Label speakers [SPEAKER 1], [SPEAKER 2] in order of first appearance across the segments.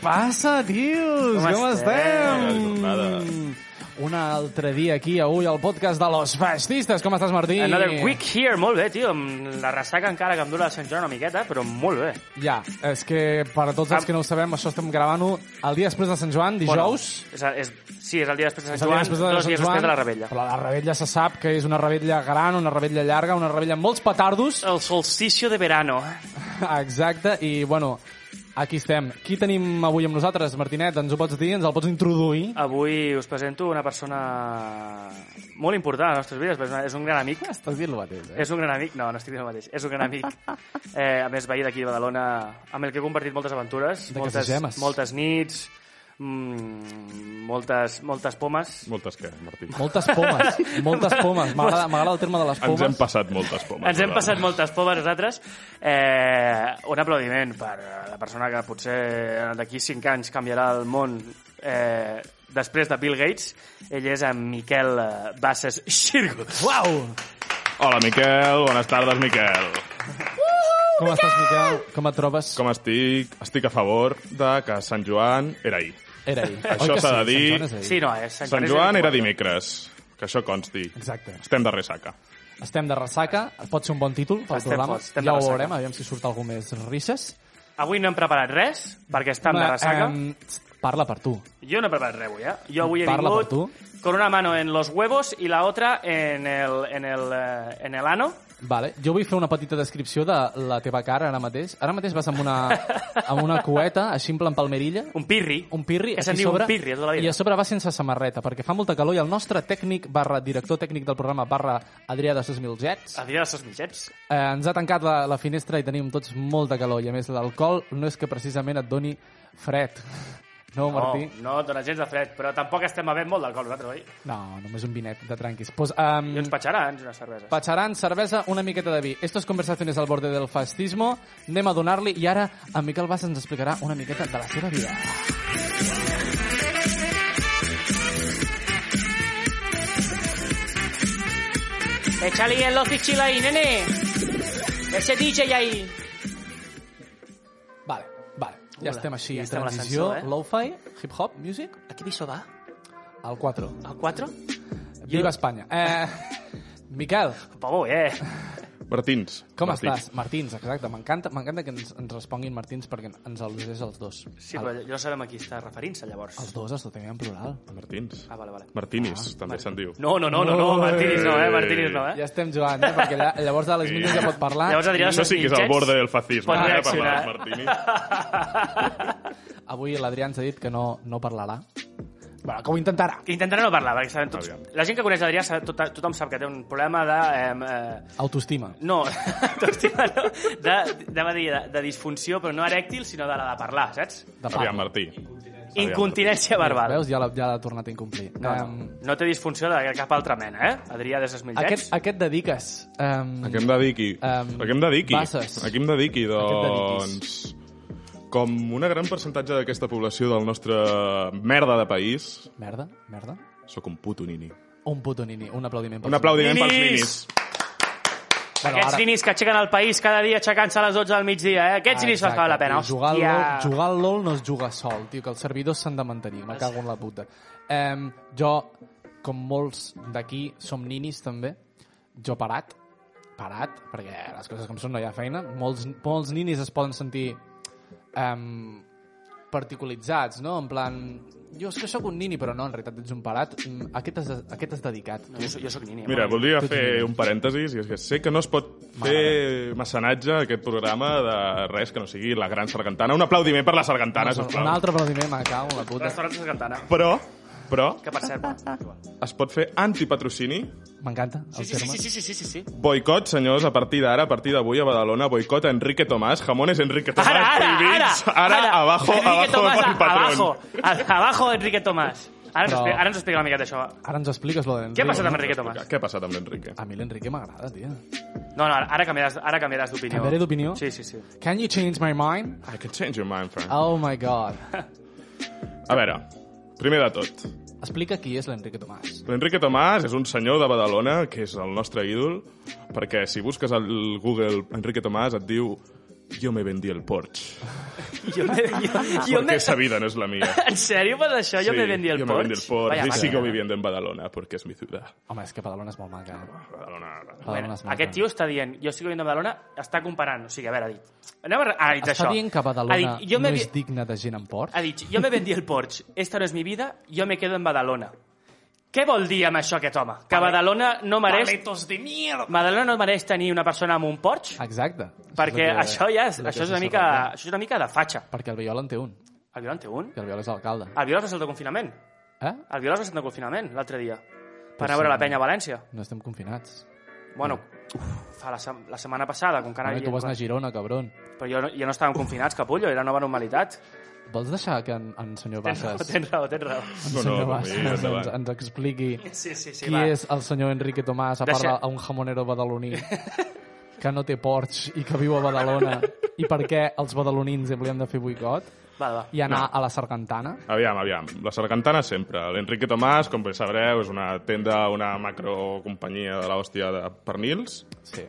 [SPEAKER 1] passa, tios?
[SPEAKER 2] Com
[SPEAKER 1] Com, estem?
[SPEAKER 2] estem? Jornada.
[SPEAKER 1] Un altre dia aquí, avui, al podcast de Los Fascistas. Com estàs, Martí?
[SPEAKER 2] Another week here, molt bé, tio. Amb La ressaca encara que em dura de Sant Joan una miqueta, però molt bé.
[SPEAKER 1] Ja, és que per a tots els que no ho sabem, això estem gravant-ho el dia després de Sant Joan, dijous.
[SPEAKER 2] Bueno, és, el- és, sí, és el dia després de
[SPEAKER 1] És el
[SPEAKER 2] Sant Joan,
[SPEAKER 1] dia després de
[SPEAKER 2] dos
[SPEAKER 1] Sant
[SPEAKER 2] dies
[SPEAKER 1] Joan,
[SPEAKER 2] després de la rebella.
[SPEAKER 1] Però la rebella se sap que és una rebella gran, una rebella llarga, una rebella amb molts petardos.
[SPEAKER 2] El solsticio de verano.
[SPEAKER 1] Exacte, i bueno, aquí estem. Qui tenim avui amb nosaltres, Martinet? Ens ho pots dir? Ens el pots introduir?
[SPEAKER 2] Avui us presento una persona molt important a les nostres vides, perquè és una- és un gran amic.
[SPEAKER 1] Estàs dient el mateix, eh?
[SPEAKER 2] És un gran amic, no, no estic dient el mateix, és un gran amic. Eh, a més, veí d'aquí de Badalona, amb el que he compartit moltes aventures,
[SPEAKER 1] De
[SPEAKER 2] moltes,
[SPEAKER 1] casagemes.
[SPEAKER 2] moltes nits, mm, moltes, moltes pomes,
[SPEAKER 3] Moltes què, Martí?
[SPEAKER 1] Moltes pomes, moltes pomes. M'agrada m'agrada el terme de les
[SPEAKER 3] Ens hem
[SPEAKER 1] pomes.
[SPEAKER 3] passat moltes pomes.
[SPEAKER 2] Ens hem
[SPEAKER 3] Nadal.
[SPEAKER 2] passat moltes pomes nosaltres. Eh, un aplaudiment per eh, la persona que potser d'aquí 5 anys canviarà el món eh, després de Bill Gates. Ell és en Miquel eh, Bassas Xirgo.
[SPEAKER 1] Uau!
[SPEAKER 3] Hola, Miquel. Bones tardes, Miquel.
[SPEAKER 1] Com
[SPEAKER 2] Oh
[SPEAKER 1] estàs, Miquel? Com et trobes?
[SPEAKER 3] Com estic? Estic a favor de que Sant Joan era ahir.
[SPEAKER 1] Era ahir.
[SPEAKER 3] Això
[SPEAKER 1] Oi que
[SPEAKER 3] s'ha de
[SPEAKER 1] sí? Sant Joan és
[SPEAKER 3] dir.
[SPEAKER 1] ahir.
[SPEAKER 2] Sí, no, eh, és
[SPEAKER 3] Sant Joan era dimecres. Que això consti.
[SPEAKER 1] Exacte.
[SPEAKER 3] Estem de ressaca.
[SPEAKER 1] Estem de ressaca, pot ser un bon títol pel
[SPEAKER 2] Estem
[SPEAKER 1] programa.
[SPEAKER 2] forts, estem
[SPEAKER 1] ja
[SPEAKER 2] de
[SPEAKER 1] ho
[SPEAKER 2] ressaca.
[SPEAKER 1] veurem, aviam si surt algú més risses.
[SPEAKER 2] Avui no hem preparat res, perquè estem de
[SPEAKER 1] Ma-
[SPEAKER 2] ressaca.
[SPEAKER 1] em, txt, parla per tu.
[SPEAKER 2] Jo no he preparat res avui, eh? Jo avui he
[SPEAKER 1] Parla per
[SPEAKER 2] vingut con una mano en los huevos y la otra en el, en el, eh, en el ano.
[SPEAKER 1] Vale. Jo vull fer una petita descripció de la teva cara ara mateix. Ara mateix vas amb una, amb una coeta, així en plan palmerilla,
[SPEAKER 2] Un pirri.
[SPEAKER 1] un pirri,
[SPEAKER 2] Que
[SPEAKER 1] aquí
[SPEAKER 2] se'n diu
[SPEAKER 1] sobre,
[SPEAKER 2] un pirri, a tota la vida.
[SPEAKER 1] i a sobre va sense samarreta, perquè fa molta calor i el nostre tècnic barra director tècnic del programa barra Adrià de 6.000 jets
[SPEAKER 2] A dia dels seus mitjets.
[SPEAKER 1] Eh, ens ha tancat la, la finestra i tenim tots molta calor i a més l'alcohol no és que precisament et doni fred no Martí?
[SPEAKER 2] Oh, No, no et dona gens de fred, però tampoc estem bevent molt d'alcohol nosaltres, oi?
[SPEAKER 1] No, només un vinet de tranquis pues, um,
[SPEAKER 2] I uns patxarans, unes cerveses.
[SPEAKER 1] Patxaran, cervesa, una miqueta de vi Estos conversaciones al borde del fascismo anem a donar-li i ara en Miquel Bas ens explicarà una miqueta de la seva vida
[SPEAKER 2] Échale en los fichila ahí, nene. Ese DJ ahí.
[SPEAKER 1] Vale, vale, ja
[SPEAKER 2] Hola,
[SPEAKER 1] estem així
[SPEAKER 2] ja estem a
[SPEAKER 1] transició,
[SPEAKER 2] l'ascensor, eh?
[SPEAKER 1] lo-fi, hip-hop, music
[SPEAKER 2] ¿A qué piso va?
[SPEAKER 1] al 4
[SPEAKER 2] ¿Al 4?
[SPEAKER 1] Viva Espanya eh, Miquel,
[SPEAKER 2] Pavo, eh.
[SPEAKER 3] Martins.
[SPEAKER 1] Com
[SPEAKER 3] Martins.
[SPEAKER 1] estàs? Martins, exacte. M'encanta m'encanta que ens, ens responguin Martins perquè ens els és els dos.
[SPEAKER 2] Sí,
[SPEAKER 1] Al-
[SPEAKER 2] però jo no sabem a qui està referint-se, llavors.
[SPEAKER 1] Els dos es tenen en plural.
[SPEAKER 3] Martins.
[SPEAKER 2] Ah, vale, vale.
[SPEAKER 3] Martinis, també se'n diu.
[SPEAKER 2] No, no, no, no, no, Martínez no, eh, Martínez no,
[SPEAKER 1] Ja
[SPEAKER 2] eh.
[SPEAKER 1] estem jugant, eh? perquè lla- llavors a les minuts ja pot parlar.
[SPEAKER 2] Llavors, Adrià,
[SPEAKER 3] Això sí que és al
[SPEAKER 2] Mitjans
[SPEAKER 3] borde del fascisme.
[SPEAKER 2] pot
[SPEAKER 3] eh,
[SPEAKER 2] reaccionar.
[SPEAKER 3] parlar dels Martinis.
[SPEAKER 1] Avui l'Adrià ens ha dit que no, no parlarà. Bueno, que ho intentarà.
[SPEAKER 2] Intentaré no parlar, perquè sabem tots...
[SPEAKER 3] Aviam.
[SPEAKER 2] La gent que coneix l'Adrià, sap- tota- tothom sap que té un problema de... Eh, eh,
[SPEAKER 1] Autoestima.
[SPEAKER 2] No, autoestima no. De, de, de, de disfunció, però no erèctil, sinó de la de parlar, saps?
[SPEAKER 1] De part.
[SPEAKER 3] Aviam, Martí.
[SPEAKER 2] Incontinència verbal.
[SPEAKER 1] Veus, ja l'ha ja l'ha tornat a incomplir.
[SPEAKER 2] No, no,
[SPEAKER 1] Em,
[SPEAKER 2] no té disfunció de cap altra mena, eh? Adrià de ses millets.
[SPEAKER 1] aquest, aquest dediques. Um,
[SPEAKER 3] A què em dediqui?
[SPEAKER 1] Em,
[SPEAKER 3] a què em dediqui?
[SPEAKER 1] Basses.
[SPEAKER 3] A què em dediqui, doncs...
[SPEAKER 1] dediquis?
[SPEAKER 3] Com una gran percentatge d'aquesta població del nostre merda de país,
[SPEAKER 1] Merda, merda.
[SPEAKER 3] sóc un puto nini.
[SPEAKER 1] Un puto nini. Un aplaudiment.
[SPEAKER 3] Un aplaudiment pels ninis.
[SPEAKER 2] Ninis!
[SPEAKER 1] Bueno,
[SPEAKER 2] Aquests
[SPEAKER 1] ara-
[SPEAKER 2] ninis que aixequen el país cada dia aixecant-se a les 12 del migdia, eh? Aquests ninis
[SPEAKER 1] Exacte,
[SPEAKER 2] fan la pena.
[SPEAKER 1] tio, Jugar al,
[SPEAKER 2] Hòstia.
[SPEAKER 1] LOL, jugar al LOL no es juga sol, tio, que els servidors s'han de mantenir, me cago en la puta. Um, jo, com molts d'aquí, som ninis també, jo parat, parat, perquè les coses com són no hi ha feina, molts, molts ninis es poden sentir um, particularitzats, no? En plan, jo és que sóc un nini, però no, en realitat ets un parat, Mm, a què t'has a què t'has dedicat?
[SPEAKER 2] No, jo, soc- jo soc nini.
[SPEAKER 3] Mira,
[SPEAKER 2] home.
[SPEAKER 3] voldria fer un parèntesis, i és que sé que no es pot fer mecenatge a aquest programa de res que no sigui la gran sargantana. Un aplaudiment per la sargantana,
[SPEAKER 1] un
[SPEAKER 3] sisplau.
[SPEAKER 1] altre aplaudiment, me cago en la puta.
[SPEAKER 2] Restaurant de Cantana.
[SPEAKER 3] Però, però,
[SPEAKER 2] Que per cert, va. igual.
[SPEAKER 3] es pot fer antipatrocini
[SPEAKER 1] M'encanta el
[SPEAKER 2] Sí, sí,
[SPEAKER 1] terme.
[SPEAKER 2] sí, sí, sí, sí, sí, sí.
[SPEAKER 3] Boicot, senyors, a partir d'ara, a partir d'avui a Badalona, boicot a Enrique Tomás, jamones Enrique Tomás,
[SPEAKER 2] Ara, ara, ara,
[SPEAKER 3] prohibits, ara, abajo,
[SPEAKER 2] Enrique
[SPEAKER 3] abajo,
[SPEAKER 2] Tomás,
[SPEAKER 3] del patrón.
[SPEAKER 2] abajo, A- abajo, Enrique Tomás. Ara, ens
[SPEAKER 1] Però-
[SPEAKER 2] explica, ara ens explica una miqueta això.
[SPEAKER 1] Ara ens expliques lo d'Enrique.
[SPEAKER 2] Què ha passat amb Enrique Tomás?
[SPEAKER 3] Què ha passat amb l'Enrique?
[SPEAKER 1] A mi l'Enrique m'agrada, tio.
[SPEAKER 2] No, no, ara canviaràs, ara canviaràs d'opinió.
[SPEAKER 1] Canviaré d'opinió?
[SPEAKER 2] Sí, sí, sí.
[SPEAKER 1] Can you change my mind?
[SPEAKER 3] I can change your mind, friend.
[SPEAKER 1] Oh my god.
[SPEAKER 3] A veure, primer de tot,
[SPEAKER 1] Explica qui és l'Enrique Tomàs.
[SPEAKER 3] l'Enrique Tomàs és un senyor de Badalona, que és el nostre ídol, perquè si busques al Google Enrique Tomàs et diu Yo me vendí el Porsche.
[SPEAKER 2] Jo, me, jo, jo
[SPEAKER 3] Porque
[SPEAKER 2] me...
[SPEAKER 3] esa vida no es la mía.
[SPEAKER 2] En sèrio, per això jo
[SPEAKER 3] Ah, Sí,
[SPEAKER 2] me vendí el
[SPEAKER 3] yo
[SPEAKER 2] Porsche?
[SPEAKER 3] me vendí el Porsche
[SPEAKER 2] Vaya
[SPEAKER 3] y
[SPEAKER 2] vaca.
[SPEAKER 3] sigo viviendo en Badalona porque es mi ciudad.
[SPEAKER 1] Home, és que Badalona és molt maca. eh?
[SPEAKER 3] Badalona, Badalona.
[SPEAKER 1] Badalona és maca.
[SPEAKER 2] Aquest tio està dient, jo estic vivint a Badalona, està comparant, o sigui, a veure, ha dit... Anem a analitzar
[SPEAKER 1] Està
[SPEAKER 2] això.
[SPEAKER 1] dient que
[SPEAKER 2] ha
[SPEAKER 1] Badalona
[SPEAKER 2] dit, jo
[SPEAKER 1] no
[SPEAKER 2] me, vi- Eh,
[SPEAKER 1] és digna de gent amb port?
[SPEAKER 2] Ha dit, jo me vendí el Porsche, esta no és mi vida, jo me quedo en Badalona. Què vol dir amb això aquest home? Que Badalona no mereix...
[SPEAKER 1] Paletos de mierda!
[SPEAKER 2] Badalona no mereix tenir una persona amb un Porsche?
[SPEAKER 1] Exacte.
[SPEAKER 2] Perquè
[SPEAKER 1] és el que-
[SPEAKER 2] això ja és,
[SPEAKER 1] el que
[SPEAKER 2] això és,
[SPEAKER 1] se
[SPEAKER 2] una mica,
[SPEAKER 1] sorprèn.
[SPEAKER 2] això és una mica de fatxa.
[SPEAKER 1] Perquè el Viola en té un.
[SPEAKER 2] El Viola en té un?
[SPEAKER 1] I el Viola és l'alcalde.
[SPEAKER 2] El Viola es va saltar el confinament.
[SPEAKER 1] Eh?
[SPEAKER 2] El Viola es va saltar el confinament l'altre dia. Per anar
[SPEAKER 1] sí.
[SPEAKER 2] a veure la penya a València.
[SPEAKER 1] No estem confinats.
[SPEAKER 2] Bueno, fa la, sem- la setmana passada, com que
[SPEAKER 1] Ara
[SPEAKER 2] anava...
[SPEAKER 1] tu vas anar a Girona, cabron.
[SPEAKER 2] Però jo, no- ja no estàvem confinats, capullo, era nova normalitat.
[SPEAKER 1] Vols deixar que en, en senyor
[SPEAKER 2] Tens raó,
[SPEAKER 1] Bassas, en
[SPEAKER 2] tens raó, tens raó.
[SPEAKER 3] No,
[SPEAKER 1] senyor
[SPEAKER 3] no, per mi,
[SPEAKER 1] Bassas ens,
[SPEAKER 3] endavant.
[SPEAKER 1] ens expliqui
[SPEAKER 2] Sí, sí, sí,
[SPEAKER 1] qui
[SPEAKER 2] va.
[SPEAKER 1] és el senyor Enrique Tomàs, a part
[SPEAKER 2] Deixa-
[SPEAKER 1] d'un jamonero badaloní que no té ports i que viu a Badalona i per què els badalonins li hem de fer boicot
[SPEAKER 2] Va, va.
[SPEAKER 1] i anar a la Sargantana?
[SPEAKER 3] Aviam, aviam. La Sargantana sempre. L'Enrique Tomàs, com bé sabreu, és una tenda, una macrocompanyia de l'hòstia de pernils.
[SPEAKER 1] Sí.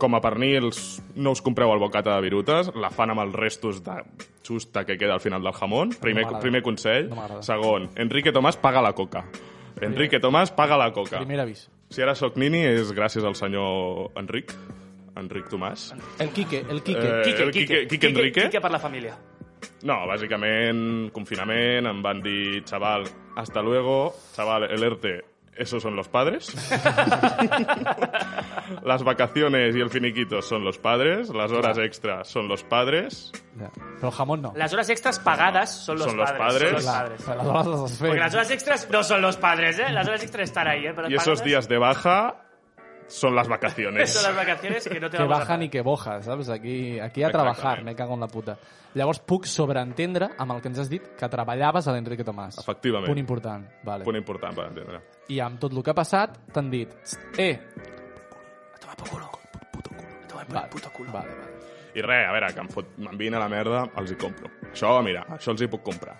[SPEAKER 3] Com a pernils, no us compreu el bocata de virutes, la fan amb els restos de xusta que queda al final del jamón. Primer,
[SPEAKER 1] m'agrada.
[SPEAKER 3] primer consell.
[SPEAKER 1] No m'agrada.
[SPEAKER 3] Segon, Enrique Tomàs paga la coca. Enrique Tomàs paga la coca.
[SPEAKER 1] Primer avís.
[SPEAKER 3] Si ara sóc nini és gràcies al senyor Enric, Enric Tomàs.
[SPEAKER 1] El Quique, el Quique.
[SPEAKER 3] Eh, el Quique- Quique Enrique?
[SPEAKER 2] Quique per la família.
[SPEAKER 3] No, bàsicament, confinament, em van dir, chaval, hasta luego, chaval, el ERTE, esos son los padres. Las vacaciones y el finiquito son los padres, las horas extra son los padres.
[SPEAKER 1] Ja. Però el jamón no.
[SPEAKER 2] Les hores extres pagades són los
[SPEAKER 3] Són los
[SPEAKER 2] padres.
[SPEAKER 3] padres.
[SPEAKER 2] Són los
[SPEAKER 1] Clar,
[SPEAKER 2] padres.
[SPEAKER 1] però aleshores les has fet.
[SPEAKER 2] Porque las horas extras no son los padres, ¿eh? Las horas extras están ahí, ¿eh? Pero
[SPEAKER 3] Y esos
[SPEAKER 2] pagadas
[SPEAKER 3] días de baja son las vacaciones.
[SPEAKER 2] Son las vacaciones que no te
[SPEAKER 1] que
[SPEAKER 2] vamos a
[SPEAKER 1] bajan i que boja, saps? Aquí, aquí a
[SPEAKER 3] Exactament.
[SPEAKER 1] treballar, me cago en la puta. Llavors puc sobreentendre amb el que ens has dit que treballaves a l'Enrique Tomàs.
[SPEAKER 3] Efectivament.
[SPEAKER 1] Punt important. Vale.
[SPEAKER 3] Punt important per entendre.
[SPEAKER 1] I amb tot el que ha passat, t'han dit... "Txt, Eh!
[SPEAKER 2] A tomar por culo. Puto culo. A tomar por
[SPEAKER 1] Vale,
[SPEAKER 2] el puto culo.
[SPEAKER 1] Vale, vale.
[SPEAKER 3] I res, a veure, que em fot, m'envien a la merda, els hi compro. Això, mira, això els hi puc comprar.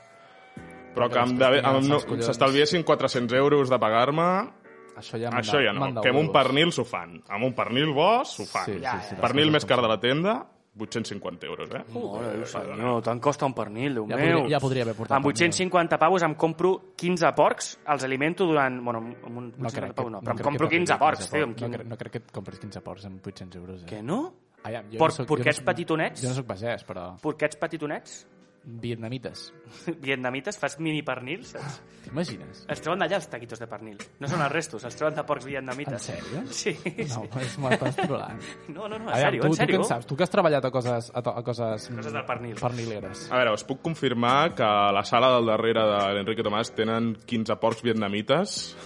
[SPEAKER 3] Però
[SPEAKER 1] Perquè
[SPEAKER 3] que em
[SPEAKER 1] després
[SPEAKER 3] de-
[SPEAKER 1] tinguin els
[SPEAKER 3] em no-
[SPEAKER 1] sacs collons.
[SPEAKER 3] s'estalviessin 400 euros de pagar-me,
[SPEAKER 1] Això ja,
[SPEAKER 3] Això ja no. Que amb un pernil s'ho fan. Amb un pernil bo s'ho fan.
[SPEAKER 1] Sí,
[SPEAKER 3] Sí,
[SPEAKER 1] sí, sí,
[SPEAKER 3] sí, pernil més car de la tenda, 850 euros, eh?
[SPEAKER 2] Mare, senyor, tant costa un pernil, Déu
[SPEAKER 1] Ja
[SPEAKER 2] meu.
[SPEAKER 1] podria- ja podria haver portat
[SPEAKER 2] Amb 850 pavos em compro 15 porcs, els alimento durant... Bueno, amb un 850 pavos no, però em compro 15 porcs, tio. Amb
[SPEAKER 1] No,
[SPEAKER 2] quin...
[SPEAKER 1] crec, no crec que et compris 15 porcs amb 800 euros. Eh?
[SPEAKER 2] Que no?
[SPEAKER 1] Ai, jo
[SPEAKER 2] Porc-
[SPEAKER 1] soc- jo
[SPEAKER 2] porquets
[SPEAKER 1] soc-
[SPEAKER 2] petitonets?
[SPEAKER 1] Jo no soc pagès, però...
[SPEAKER 2] Porquets petitonets?
[SPEAKER 1] Vietnamites.
[SPEAKER 2] Vietnamites? Fas mini pernils, saps?
[SPEAKER 1] T'imagines?
[SPEAKER 2] Els treuen d'allà els taquitos de pernil. No són els restos, els treuen de porcs vietnamites.
[SPEAKER 1] En sèrio?
[SPEAKER 2] Sí.
[SPEAKER 1] No, és- m'estàs trollant.
[SPEAKER 2] No, no, no, en
[SPEAKER 1] A veure,
[SPEAKER 2] sèrio,
[SPEAKER 1] tu,
[SPEAKER 2] en
[SPEAKER 1] tu què
[SPEAKER 2] sèrio.
[SPEAKER 1] en saps? Tu que has treballat a coses... A, to- a coses, mm,
[SPEAKER 2] Coses del pernil.
[SPEAKER 1] Pernileres.
[SPEAKER 3] A veure, us puc confirmar que a la sala del darrere de l'Enrique Tomàs tenen 15 porcs vietnamites.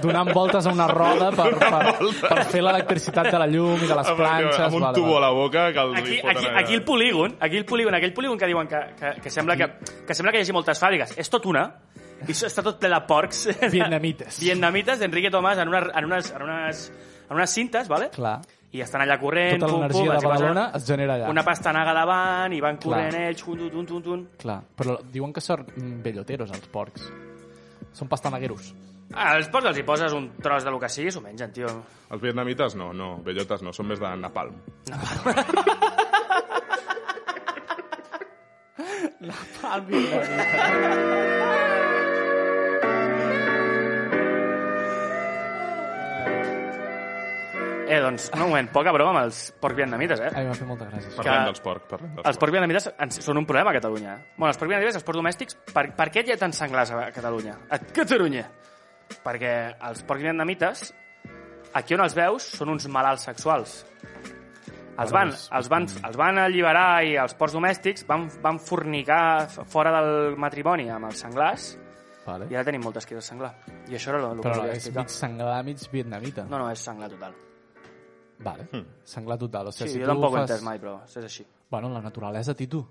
[SPEAKER 1] Donant voltes a una roda per, per, per fer l'electricitat de la llum i de les planxes...
[SPEAKER 3] amb un
[SPEAKER 1] vale,
[SPEAKER 3] tubo
[SPEAKER 1] vale.
[SPEAKER 3] a la boca que els
[SPEAKER 2] Aquí,
[SPEAKER 3] hi foten
[SPEAKER 2] aquí,
[SPEAKER 3] allà.
[SPEAKER 2] aquí el polígon, aquí el polígon, aquell polígon que diuen que, que, que, sembla que, que sembla que hi hagi moltes fàbriques. És tot una, i això està tot ple de porcs.
[SPEAKER 1] Vietnamites.
[SPEAKER 2] Vietnamites d'Enrique Tomàs en unes, en, unes, en, unes, en unes cintes, vale?
[SPEAKER 1] Clar.
[SPEAKER 2] i estan allà corrent,
[SPEAKER 1] Tota
[SPEAKER 2] pum, pum,
[SPEAKER 1] l'energia de
[SPEAKER 2] els hi posen
[SPEAKER 1] Badalona es genera allà.
[SPEAKER 2] Una pastanaga davant, i van
[SPEAKER 1] Clar.
[SPEAKER 2] corrent ells, tun, tun, tun, tun.
[SPEAKER 1] Clar, però diuen que són mm, belloteros, els porcs. Són pastanagueros.
[SPEAKER 2] Als porcs Ah, els hi poses un tros de lo que sigui i s'ho mengen, tio.
[SPEAKER 3] Els vietnamites no, no, bellotes no, són més de napalm.
[SPEAKER 2] Eh, doncs, un moment, poca broma amb els porcs vietnamites, eh?
[SPEAKER 1] Ai, m'ha fet molta gràcia. això.
[SPEAKER 3] Parlem
[SPEAKER 2] Que-
[SPEAKER 3] dels porcs, parlem dels
[SPEAKER 2] Els
[SPEAKER 3] porcs.
[SPEAKER 2] porcs vietnamites ens- són un problema a Catalunya. Bueno, els porcs vietnamites, els porcs domèstics, per, per què hi ha tants senglars a Catalunya? A Catalunya! Perquè els porcs vietnamites, aquí on els veus, són uns malalts sexuals. Els van, els van, els van alliberar i els porcs domèstics van, van fornicar f- fora del matrimoni amb els senglars
[SPEAKER 1] Vale.
[SPEAKER 2] i ara tenim moltes cries de senglar. I això era el que us
[SPEAKER 1] Però
[SPEAKER 2] volia
[SPEAKER 1] és
[SPEAKER 2] explicar.
[SPEAKER 1] mig senglar, mig vietnamita.
[SPEAKER 2] No, no, és senglar total.
[SPEAKER 1] Vale. Senglar total. O
[SPEAKER 2] Sí,
[SPEAKER 1] sigui, si
[SPEAKER 2] jo
[SPEAKER 1] tu
[SPEAKER 2] tampoc ho he
[SPEAKER 1] fas...
[SPEAKER 2] entès mai, però és així.
[SPEAKER 1] Bueno, la naturalesa, Titu.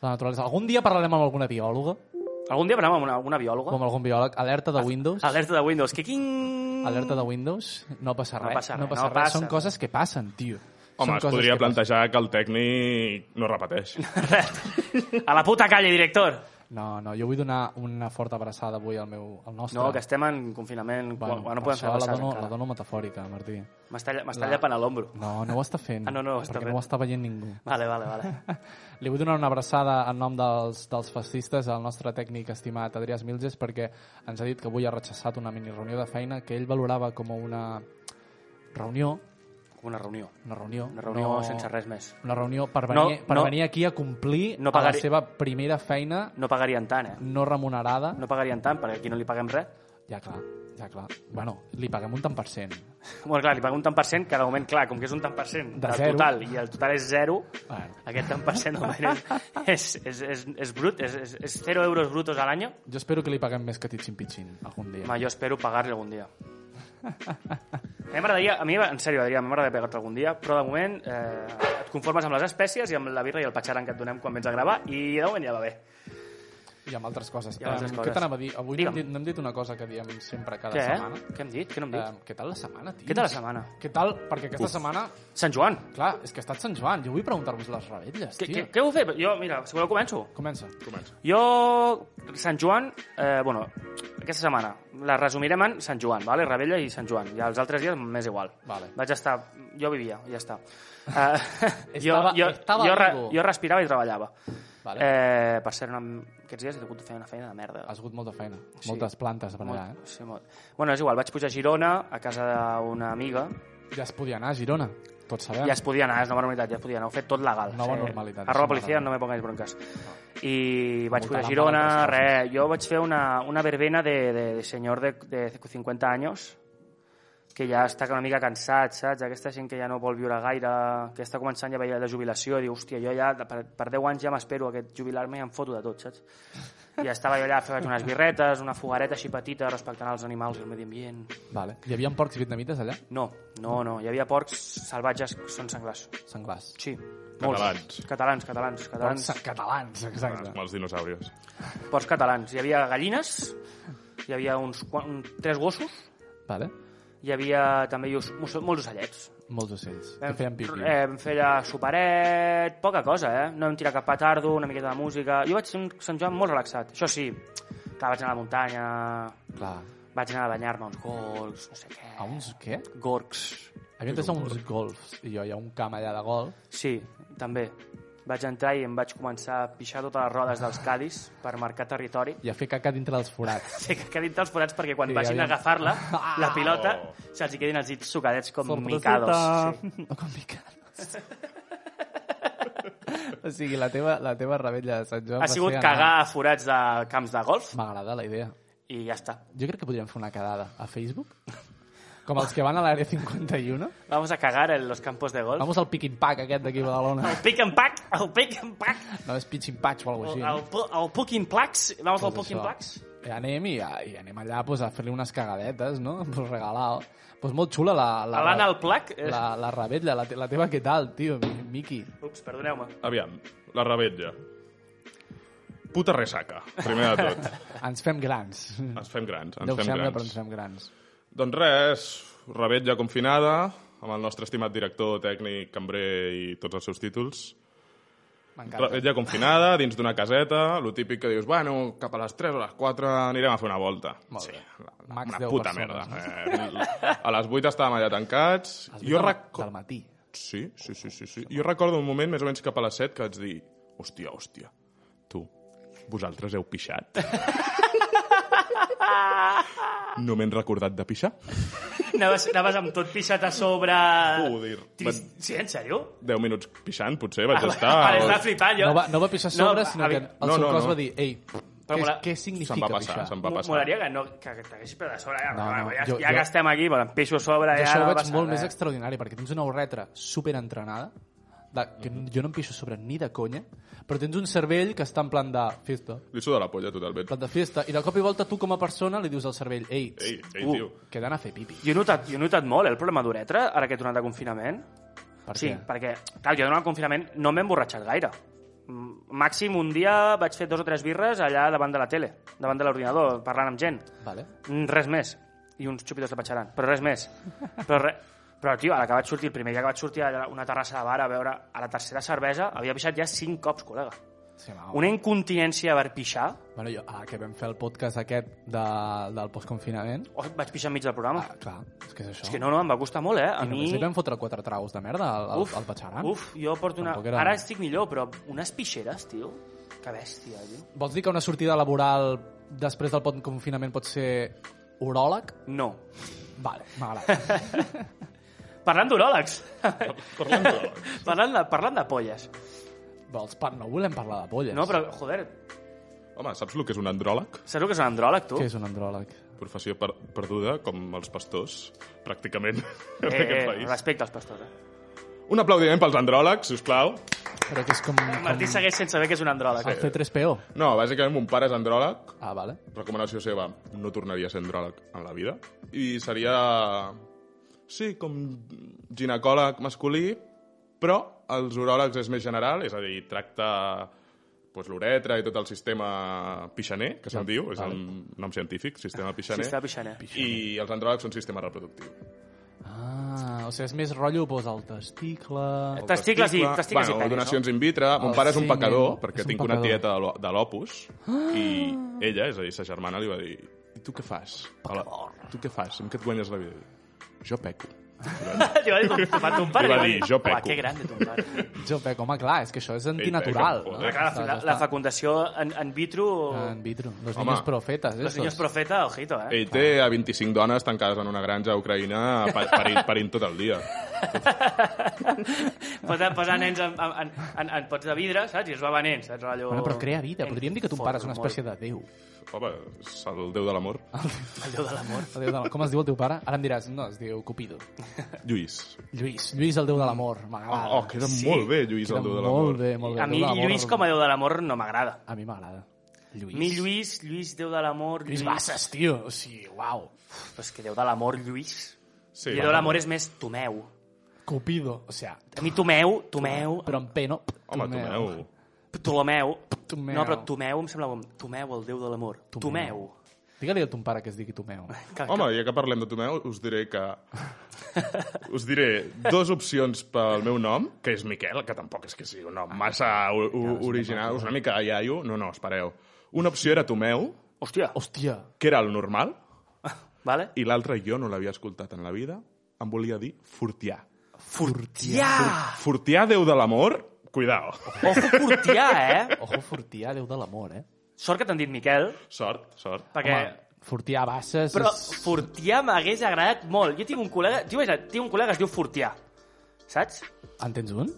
[SPEAKER 1] La naturalesa. Algun dia parlarem amb alguna biòloga
[SPEAKER 2] Algun dia parlàvem amb una, alguna
[SPEAKER 1] o
[SPEAKER 2] biòloga?
[SPEAKER 1] amb algun biòleg. Alerta
[SPEAKER 2] Ah,
[SPEAKER 1] de Windows.
[SPEAKER 2] Alerta de Windows. Que quin...
[SPEAKER 1] Alerta de Windows. No passa
[SPEAKER 2] No
[SPEAKER 1] res.
[SPEAKER 2] passa res, no
[SPEAKER 1] res.
[SPEAKER 2] passa
[SPEAKER 1] Són
[SPEAKER 2] res.
[SPEAKER 1] coses que passen, tio.
[SPEAKER 3] Home,
[SPEAKER 1] Són
[SPEAKER 3] es
[SPEAKER 1] coses
[SPEAKER 3] podria
[SPEAKER 1] que passen.
[SPEAKER 3] plantejar que el tècnic no repeteix.
[SPEAKER 2] A la puta calle, director.
[SPEAKER 1] No, no, jo vull donar una forta abraçada avui al meu, al nostre.
[SPEAKER 2] No, que estem en confinament, bueno, quan, quan no
[SPEAKER 1] per
[SPEAKER 2] podem fer
[SPEAKER 1] això la
[SPEAKER 2] abraçades
[SPEAKER 1] dono, la
[SPEAKER 2] encara.
[SPEAKER 1] dono metafòrica, Martí.
[SPEAKER 2] M'està lla- m'està
[SPEAKER 1] la-
[SPEAKER 2] llapant a l'ombro.
[SPEAKER 1] No, no ho està fent,
[SPEAKER 2] Ah, no, no ho està
[SPEAKER 1] perquè
[SPEAKER 2] fent.
[SPEAKER 1] no ho està veient ningú.
[SPEAKER 2] Vale, vale, vale.
[SPEAKER 1] Li vull donar una abraçada en nom dels, dels fascistes al nostre tècnic estimat Adrià Milges perquè ens ha dit que avui ha rechaçat una mini reunió de feina que ell valorava com a una reunió,
[SPEAKER 2] Com una reunió.
[SPEAKER 1] una reunió,
[SPEAKER 2] Una reunió
[SPEAKER 1] no-
[SPEAKER 2] sense res més.
[SPEAKER 1] Una reunió per
[SPEAKER 2] No,
[SPEAKER 1] venir, per
[SPEAKER 2] no.
[SPEAKER 1] venir aquí a complir
[SPEAKER 2] No
[SPEAKER 1] a la
[SPEAKER 2] pagaré-
[SPEAKER 1] seva primera feina
[SPEAKER 2] No pagarien tant, eh?
[SPEAKER 1] no remunerada.
[SPEAKER 2] No pagarien tant, perquè aquí no li paguem res.
[SPEAKER 1] Ja, clar, ja, clar. Bueno, li paguem un tant per cent.
[SPEAKER 2] Bueno, clar, li paguem un tant per cent, que de moment, clar, com que és un tant per cent
[SPEAKER 1] De
[SPEAKER 2] del
[SPEAKER 1] zero.
[SPEAKER 2] total, i el total és zero,
[SPEAKER 1] Bueno,
[SPEAKER 2] aquest tant per cent de moment és, és, és, és, és brut, és, és, és zero euros brutos a l'any.
[SPEAKER 1] jo espero que li paguem més que Titxin Pitxin algun dia.
[SPEAKER 2] Home, jo espero pagar-li algun dia. A mi m'agradaria, a mi, en sèrio, Adrià, m'agradaria pegar-te algun dia, però de moment eh, et conformes amb les espècies i amb la birra i el patxaran que et donem quan vens a gravar, i de moment ja va bé.
[SPEAKER 1] I amb altres coses.
[SPEAKER 2] I amb altres
[SPEAKER 1] Em,
[SPEAKER 2] coses.
[SPEAKER 1] Què t'anava a dir? Avui no
[SPEAKER 2] Digue'm.
[SPEAKER 1] hem, dit, no hem dit una cosa que diem sempre cada
[SPEAKER 2] Què? eh?
[SPEAKER 1] setmana.
[SPEAKER 2] Què hem dit? Què no hem dit?
[SPEAKER 1] Em, què tal la setmana, tio?
[SPEAKER 2] Què tal la setmana?
[SPEAKER 1] Què tal? Perquè aquesta setmana,
[SPEAKER 2] Sant Joan.
[SPEAKER 1] clar, és que ha estat Sant Joan. Jo vull preguntar-vos les revetlles,
[SPEAKER 2] Què,
[SPEAKER 1] tio.
[SPEAKER 2] què, què heu fet? Jo, mira, si voleu començo.
[SPEAKER 1] Comença.
[SPEAKER 3] Comença.
[SPEAKER 2] Jo, Sant Joan, eh, bueno, aquesta setmana la resumirem en Sant Joan, vale? Rebella i Sant Joan. I els altres dies m'és igual.
[SPEAKER 1] Vale.
[SPEAKER 2] Vaig estar... Jo vivia, ja està. Uh,
[SPEAKER 1] Estava- estava
[SPEAKER 2] jo, re-
[SPEAKER 1] vivo.
[SPEAKER 2] jo respirava i treballava.
[SPEAKER 1] Vale.
[SPEAKER 2] Eh, per ser una... aquests dies he hagut de fer una feina de merda.
[SPEAKER 1] Has hagut molta feina. Moltes plantes per allà, eh?
[SPEAKER 2] Sí, molt. Bueno, és igual, vaig pujar a Girona, a casa d'una amiga,
[SPEAKER 1] eh? Ja es podia anar a Girona, tots sabem.
[SPEAKER 2] ja es podia anar, és nova normalitat, ja es podia anar, ho he fet tot legal.
[SPEAKER 1] Nova normalitat,
[SPEAKER 2] Arroba
[SPEAKER 1] això
[SPEAKER 2] policia,
[SPEAKER 1] m'agrada.
[SPEAKER 2] no me pongáis broncas. I vaig
[SPEAKER 1] Multa
[SPEAKER 2] pujar a
[SPEAKER 1] la
[SPEAKER 2] Girona,
[SPEAKER 1] mala empresa.
[SPEAKER 2] res, jo vaig fer una, una verbena de, de, de senyor de, de 50 anys que ja està una mica cansat, saps? Aquesta gent que ja no vol viure gaire, que està començant ja a veure la jubilació, i diu, hòstia, jo ja per, per 10 anys ja m'espero a aquest jubilar-me i em foto de tot, saps? I estava jo allà fent unes birretes, una fogareta així petita, respectant els animals i el medi ambient.
[SPEAKER 1] Vale. Hi havia porcs vietnamites allà?
[SPEAKER 2] No, no, no, hi havia porcs salvatges que són senglars.
[SPEAKER 1] Senglars.
[SPEAKER 2] Sí,
[SPEAKER 3] Catalans.
[SPEAKER 2] molts. Catalans, catalans,
[SPEAKER 1] Porcs
[SPEAKER 2] catalans.
[SPEAKER 1] catalans, exacte.
[SPEAKER 3] Com els dinosaures.
[SPEAKER 2] Porcs catalans. Hi havia gallines, hi havia uns, qua- un, tres gossos,
[SPEAKER 1] Vale.
[SPEAKER 2] hi havia també hi us, mos- molts ocellets.
[SPEAKER 1] Molts ocells. Que feien pipi.
[SPEAKER 2] Eh, vam fer allà superet, poca cosa, eh? No vam tirar cap petardo, una miqueta de música... Jo vaig ser un Sant Joan molt relaxat. Això sí, clar, vaig anar a la muntanya,
[SPEAKER 1] Clar.
[SPEAKER 2] vaig anar a banyar-me a uns golfs, no sé què...
[SPEAKER 1] A uns què?
[SPEAKER 2] Gorgs.
[SPEAKER 1] Havia entès a uns golfs. I jo hi ha un camp allà de golf.
[SPEAKER 2] Sí, també. Vaig entrar i em vaig començar a pixar totes les rodes dels cadis per marcar territori.
[SPEAKER 1] I a fer caca dintre dels forats.
[SPEAKER 2] Sí, que quedin els forats perquè quan
[SPEAKER 1] Sí,
[SPEAKER 2] vagin a
[SPEAKER 1] aviam.
[SPEAKER 2] agafar-la, la pilota,
[SPEAKER 3] Oh.
[SPEAKER 2] se'ls hi quedin els dits sucadets com
[SPEAKER 1] Sorpresita.
[SPEAKER 2] micados. Mm, Sí.
[SPEAKER 1] Com micados. o sigui, la teva, la teva rebella de Sant Joan...
[SPEAKER 2] Ha
[SPEAKER 1] va
[SPEAKER 2] sigut
[SPEAKER 1] ser anar-
[SPEAKER 2] cagar a forats de camps de golf
[SPEAKER 1] M'agrada la idea.
[SPEAKER 2] i ja està.
[SPEAKER 1] Jo crec que podríem fer una quedada a Facebook. Com els que van a l'àrea 51.
[SPEAKER 2] Vamos a cagar en los campos de golf.
[SPEAKER 1] Vamos al pick and pack aquest d'aquí a Badalona.
[SPEAKER 2] El pick and pack, el pick and pack,
[SPEAKER 1] No, és pitch and patch o alguna
[SPEAKER 2] el,
[SPEAKER 1] cosa
[SPEAKER 2] el,
[SPEAKER 1] així.
[SPEAKER 2] pu- el pucking plax, vamos al
[SPEAKER 1] Doncs
[SPEAKER 2] pucking
[SPEAKER 1] això.
[SPEAKER 2] plax.
[SPEAKER 1] I anem, i, i anem allà pues, a fer-li unes cagadetes, no? Pues regalar. Pues molt xula la... la
[SPEAKER 2] A l'anal plac... eh,
[SPEAKER 1] La, la rebetlla, la, te- la teva què tal, tio, Mi- Miqui?
[SPEAKER 2] Ups, perdoneu-me.
[SPEAKER 3] Aviam, la rebetlla. Puta ressaca, primer de tot.
[SPEAKER 1] Ens fem grans.
[SPEAKER 3] Ens fem grans, ens
[SPEAKER 1] Deu
[SPEAKER 3] fem
[SPEAKER 1] sembla,
[SPEAKER 3] grans.
[SPEAKER 1] però ens fem grans.
[SPEAKER 3] Doncs res, rebetlla confinada, amb el nostre estimat director, tècnic, cambrer i tots els seus títols.
[SPEAKER 1] M'encanta.
[SPEAKER 3] Rebetlla confinada, dins d'una caseta, lo típic que dius, bueno, cap a les 3 o les 4 anirem a fer una volta.
[SPEAKER 1] Molt bé.
[SPEAKER 3] la-
[SPEAKER 1] Max
[SPEAKER 3] una
[SPEAKER 1] 10
[SPEAKER 3] puta
[SPEAKER 1] persones,
[SPEAKER 3] merda. Eh, a les 8 estàvem allà tancats.
[SPEAKER 1] Has vist
[SPEAKER 3] Jo
[SPEAKER 1] del-
[SPEAKER 3] recordo...
[SPEAKER 1] Del matí.
[SPEAKER 3] Sí, sí, sí, sí, sí. Jo recordo un moment, més o menys cap a les 7, que vaig dir, hòstia, hòstia, tu, vosaltres heu pixat? no m'he recordat de pixar.
[SPEAKER 2] Anaves, anaves amb tot pixat a sobre...
[SPEAKER 3] Joder.
[SPEAKER 2] Trist... Sí, en sèrio?
[SPEAKER 3] 10 minuts pixant, potser, vaig estar...
[SPEAKER 2] Ara es Ah, va
[SPEAKER 3] o-
[SPEAKER 2] flipar, jo.
[SPEAKER 1] No va, no va pixar a sobre, no, sinó que
[SPEAKER 2] avi-
[SPEAKER 1] el
[SPEAKER 3] no,
[SPEAKER 1] seu
[SPEAKER 3] no,
[SPEAKER 1] cos
[SPEAKER 3] no.
[SPEAKER 1] va dir, ei, què,
[SPEAKER 2] mola-
[SPEAKER 1] què
[SPEAKER 3] Se'm
[SPEAKER 1] significa
[SPEAKER 3] va passar,
[SPEAKER 1] pixar?
[SPEAKER 3] se'm va passar.
[SPEAKER 2] Molaria que, no, que, que t'haguessis per a sobre. Ja,
[SPEAKER 1] No, no,
[SPEAKER 2] ja,
[SPEAKER 1] jo-
[SPEAKER 2] ja
[SPEAKER 1] jo-
[SPEAKER 2] que estem aquí, bueno, em peixo a sobre.
[SPEAKER 1] Jo
[SPEAKER 2] Ja,
[SPEAKER 1] això ho
[SPEAKER 2] no
[SPEAKER 1] veig
[SPEAKER 2] passa
[SPEAKER 1] molt
[SPEAKER 2] res.
[SPEAKER 1] més extraordinari, perquè tens una horretra superentrenada, de, que jo no em pixo a sobre ni de conya, però tens un cervell que està en plan de fiesta,
[SPEAKER 3] Li suda la polla totalment.
[SPEAKER 1] plan de fiesta, i de cop i volta tu com a persona li dius al cervell, ei,
[SPEAKER 3] Ei, ei,
[SPEAKER 2] Uh.
[SPEAKER 3] tio.
[SPEAKER 1] que he d'anar a fer pipi.
[SPEAKER 2] Jo he, notat, jo he notat molt eh, el problema d'uretra ara que he tornat de confinament.
[SPEAKER 1] Per
[SPEAKER 2] sí,
[SPEAKER 1] què?
[SPEAKER 2] perquè, clar, jo durant el confinament no m'he emborratxat gaire. Mm, Màxim, un dia vaig fer dos o tres birres allà davant de la tele, davant de l'ordinador, parlant amb gent.
[SPEAKER 1] Vale.
[SPEAKER 2] Mm, Res més. I uns xupitos de patxaran, però res més. Però, re... però tio, a la que vaig sortir, el primer dia que vaig sortir a una terrassa de bar a veure a la tercera cervesa, havia pixat ja cinc cops, col·lega.
[SPEAKER 1] Sí, home,
[SPEAKER 2] Una incontinència per pixar.
[SPEAKER 1] Bueno, jo, ah, que vam fer el podcast aquest de, del postconfinament.
[SPEAKER 2] Oh, vaig pixar enmig del programa.
[SPEAKER 1] Ah, clar, és que és això.
[SPEAKER 2] és que no, no, em va costar molt, eh? A
[SPEAKER 1] I
[SPEAKER 2] mi...
[SPEAKER 1] només li vam fotre quatre traus de merda al, al, al Patxaran.
[SPEAKER 2] uf, jo porto una...
[SPEAKER 1] Tampoc era-
[SPEAKER 2] Ara estic millor, però unes pixeres, tio. Que bèstia, tio.
[SPEAKER 1] Vols dir que una sortida laboral després del pot- confinament pot ser uròleg?
[SPEAKER 2] No.
[SPEAKER 1] Vale, m'agrada.
[SPEAKER 2] Parlant d'uròlegs.
[SPEAKER 3] Parlant d'uròlegs.
[SPEAKER 2] parlant, de, parlant de polles.
[SPEAKER 1] Vols par... No volem parlar de polles.
[SPEAKER 2] No, però, joder,
[SPEAKER 3] Home, saps el que és un andròleg?
[SPEAKER 2] saps el que és un andròleg, tu?
[SPEAKER 1] Què és un andròleg?
[SPEAKER 3] Professió per perduda, com els pastors, pràcticament, en
[SPEAKER 2] Eh,
[SPEAKER 3] aquest
[SPEAKER 2] eh,
[SPEAKER 3] país.
[SPEAKER 2] respecte als pastors. Eh?
[SPEAKER 3] Un aplaudiment pels andròlegs, si us plau.
[SPEAKER 1] Però que és com...
[SPEAKER 2] Martí
[SPEAKER 1] com...
[SPEAKER 2] segueix sense saber què és un
[SPEAKER 3] Ah,
[SPEAKER 2] andròleg. eh,
[SPEAKER 1] El C3PO.
[SPEAKER 3] No, bàsicament mon pare és andròleg,
[SPEAKER 1] Ah, vale.
[SPEAKER 3] recomanació seva, no tornaria a ser andròleg en la vida. I seria... Sí, com ginecòleg masculí, però els uròlegs és més general, és a dir, tracta pues, l'uretra i tot el sistema pixaner, que se'n diu, és el nom científic, sistema pixaner.
[SPEAKER 2] Sistema pixaner.
[SPEAKER 3] I els andròlegs són sistema reproductiu.
[SPEAKER 1] Ah, o sigui, és més rotllo, doncs, el testicle...
[SPEAKER 2] Eh, Testicles i-
[SPEAKER 3] Testicle,
[SPEAKER 2] testicles i
[SPEAKER 3] bueno,
[SPEAKER 2] penis,
[SPEAKER 3] donacions in vitre. Mon
[SPEAKER 1] El
[SPEAKER 3] pare és un
[SPEAKER 1] semen.
[SPEAKER 3] pecador, perquè
[SPEAKER 1] És un
[SPEAKER 3] tinc
[SPEAKER 1] pecador. Ah!
[SPEAKER 3] una tieta de l'O- de l'Opus, i ella, és a dir, sa germana, li va dir i tu què fas? A la- Tu què fas? Amb què et guanyes la vida? Jo peco.
[SPEAKER 2] Li va dir ton, va ton pare.
[SPEAKER 3] Li va
[SPEAKER 2] li
[SPEAKER 3] dir, "Jo
[SPEAKER 2] "Uah,
[SPEAKER 3] peco".
[SPEAKER 2] que grande ton pare.
[SPEAKER 1] Jo, però, home, clar, és que això és antinatural.
[SPEAKER 3] Ei,
[SPEAKER 1] no?
[SPEAKER 3] joder.
[SPEAKER 2] Clar, la,
[SPEAKER 1] Estàs-
[SPEAKER 2] la, la fecundació en, en vitro...
[SPEAKER 1] estàs En vitro. Los
[SPEAKER 3] Home.
[SPEAKER 1] niños profetas,
[SPEAKER 2] Los
[SPEAKER 1] estos.
[SPEAKER 2] niños profeta, ojito, eh?
[SPEAKER 3] Ell té a 25 dones tancades en una granja a Ucraïna pa- parint, parint tot el dia.
[SPEAKER 2] Pots posar nens en, en, en, en pots de vidre, saps? I es va venent, saps? Allò...
[SPEAKER 1] Bueno, però crea vida. Podríem dir que ton pare és una
[SPEAKER 2] Fot,
[SPEAKER 1] espècie de déu.
[SPEAKER 3] Home, és el déu de l'amor.
[SPEAKER 1] Ah.
[SPEAKER 2] molt. Allò de l'amor.
[SPEAKER 1] El déu de la- Com es diu el teu pare? Ara em diràs, no, es diu Cupido.
[SPEAKER 3] Lluís.
[SPEAKER 1] Lluís, Lluís el déu de l'amor. M'agrada.
[SPEAKER 3] Oh, queda
[SPEAKER 2] sí.
[SPEAKER 3] molt bé, Lluís, el déu de l'amor.
[SPEAKER 1] Ah, Molt bé, molt bé.
[SPEAKER 2] A
[SPEAKER 1] el
[SPEAKER 2] mi
[SPEAKER 1] déu de l'amor-
[SPEAKER 2] Lluís com a Déu de l'amor no m'agrada.
[SPEAKER 1] A mi m'agrada. Lluís.
[SPEAKER 2] A mi Lluís, Lluís Déu de l'amor,
[SPEAKER 1] Lluís
[SPEAKER 2] Lluís...
[SPEAKER 1] Bassas, tio. O sigui, uau.
[SPEAKER 2] Però és que Déu de l'amor, Lluís...
[SPEAKER 3] Sí,
[SPEAKER 2] I Déu de l'amor és més Tomeu.
[SPEAKER 1] Cupido. O sigui,
[SPEAKER 2] A mi Tomeu, Tomeu,
[SPEAKER 1] però en P, no?
[SPEAKER 3] Home, Tomeu.
[SPEAKER 2] Ptolomeu...
[SPEAKER 1] Tomeu.
[SPEAKER 2] No, però Tomeu em sembla... com- Tomeu, el Déu de l'amor. Tomeu.
[SPEAKER 1] Digue-li a ton pare que es digui Tomeu.
[SPEAKER 2] Ah, Que-
[SPEAKER 3] Home, ja que parlem de Tomeu, us diré que... Us diré dos opcions pel meu nom, que és Miquel, que tampoc és que sigui un nom massa o- o- original, és una mica iaio. No, no, espereu. Una opció era Tomeu,
[SPEAKER 2] Hòstia,
[SPEAKER 1] Hòstia.
[SPEAKER 3] que era el normal,
[SPEAKER 2] vale?
[SPEAKER 3] i l'altra jo no l'havia escoltat en la vida, em volia dir Fortià.
[SPEAKER 2] Fortià!
[SPEAKER 3] Fortià, Déu de l'amor, cuidao.
[SPEAKER 2] Ojo Fortià, eh?
[SPEAKER 1] Ojo, Fortià, déu de l'amor, eh?
[SPEAKER 2] Sort que t'han dit Miquel,
[SPEAKER 3] Sort, sort.
[SPEAKER 2] perquè...
[SPEAKER 1] Home, Fortià Bassas...
[SPEAKER 2] Però
[SPEAKER 1] és-
[SPEAKER 2] Fortià m'hagués agradat molt. Jo tinc un col·lega... Tio, vaja, tinc un col·lega que es diu Fortià. Saps?
[SPEAKER 1] En tens un?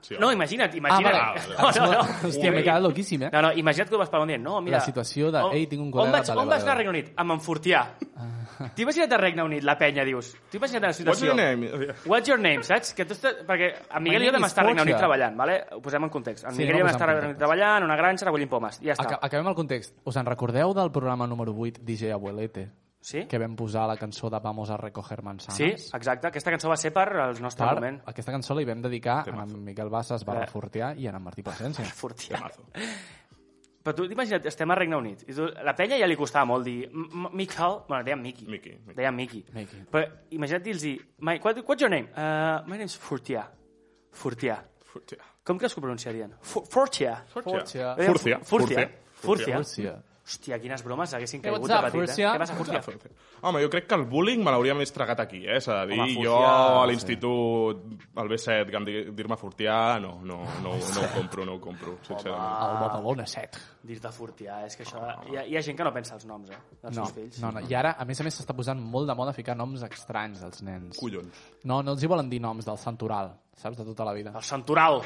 [SPEAKER 3] Sí,
[SPEAKER 2] No,
[SPEAKER 3] home.
[SPEAKER 2] imagina't, imagina't.
[SPEAKER 1] Ah,
[SPEAKER 3] vale.
[SPEAKER 2] No, no, no.
[SPEAKER 1] Hòstia, m'he quedat loquíssim, eh?
[SPEAKER 2] No, no, imagina't que ho vas parlar un dia. No, mira...
[SPEAKER 1] La situació de, "Ei, tinc un
[SPEAKER 2] on
[SPEAKER 1] col·lega,
[SPEAKER 2] vaig,
[SPEAKER 1] vale,
[SPEAKER 2] on
[SPEAKER 1] vale,
[SPEAKER 2] vas
[SPEAKER 1] vale.
[SPEAKER 2] anar a Regne Unit? Amb en Fortià.
[SPEAKER 1] Ah.
[SPEAKER 2] T'hi imagina't a Regne Unit, la penya, dius. T'hi imagina't la
[SPEAKER 3] What's
[SPEAKER 2] situació.
[SPEAKER 3] your name?
[SPEAKER 2] What's your name, saps? Que tu estàs... Perquè en Miguel
[SPEAKER 1] My
[SPEAKER 2] i
[SPEAKER 1] name
[SPEAKER 2] jo vam
[SPEAKER 1] is
[SPEAKER 2] estar a Regne Unit
[SPEAKER 1] Fortià.
[SPEAKER 2] treballant, vale? Ho posem en context. En
[SPEAKER 1] Sí,
[SPEAKER 2] Miguel
[SPEAKER 1] no
[SPEAKER 2] i jo
[SPEAKER 1] ho
[SPEAKER 2] vam estar a
[SPEAKER 1] posem en
[SPEAKER 2] Regne Unit
[SPEAKER 1] context. Ah,
[SPEAKER 2] treballant, una granja, recollint pomes. Ja
[SPEAKER 1] Aca
[SPEAKER 2] està.
[SPEAKER 1] acabem el context. Us en recordeu del programa número 8, DJ Abuelete?
[SPEAKER 2] Sí?
[SPEAKER 1] Que vam posar la cançó de Vamos a recoger manzanas?
[SPEAKER 2] Sí, exacte. Aquesta cançó va ser per als nostres
[SPEAKER 1] Per
[SPEAKER 2] moments.
[SPEAKER 1] aquesta cançó li vam dedicar a
[SPEAKER 3] Temazo.
[SPEAKER 1] en Miquel Bassas, barra
[SPEAKER 2] Eh.
[SPEAKER 1] Fortià i a en Martí Plasencia.
[SPEAKER 2] Fortià. Però tu imagina't, estem a Regne Unit. I tu, la penya ja li costava molt dir "M- M- Michael... Bueno, deia Mickey.
[SPEAKER 3] Mickey, Mickey.
[SPEAKER 2] Deia Mickey.
[SPEAKER 1] Mickey.
[SPEAKER 2] Però imagina't dir-los... "My- What, what's your name? Uh, my name's Fortià. Fortià.
[SPEAKER 3] Fortià.
[SPEAKER 2] Com que es pronunciarien? For- Fortià.
[SPEAKER 1] Fortià.
[SPEAKER 2] Deien
[SPEAKER 3] Fortià.
[SPEAKER 2] Fu- Fortià. Fortià.
[SPEAKER 1] Hòstia.
[SPEAKER 2] Hòstia, quines bromes haguessin
[SPEAKER 1] Hey,
[SPEAKER 2] caigut
[SPEAKER 1] what's
[SPEAKER 2] de
[SPEAKER 1] up,
[SPEAKER 2] petit, eh?
[SPEAKER 1] Fortià?
[SPEAKER 2] Què passa, Fortià?
[SPEAKER 3] Home, jo crec que el bullying me l'hauria més tragat aquí, eh? S'ha de dir,
[SPEAKER 2] Home, Fortià,
[SPEAKER 3] jo a
[SPEAKER 2] sí.
[SPEAKER 3] l'institut, al B7, que em digui- dir-me Fortià, no, no, no, no ho compro, no ho compro, sincerament.
[SPEAKER 2] Ah.
[SPEAKER 1] El Badalona 7.
[SPEAKER 2] Dir-te Fortià, és que això... Hi ha, hi ha gent que no pensa els noms, eh? Dels
[SPEAKER 1] No,
[SPEAKER 2] seus fills.
[SPEAKER 1] no, no. I ara, a més a més, s'està posant molt de moda ficar noms estranys als nens.
[SPEAKER 3] Collons.
[SPEAKER 1] No, no els hi volen dir noms del santoral, saps? De tota la vida.
[SPEAKER 2] El Santoral.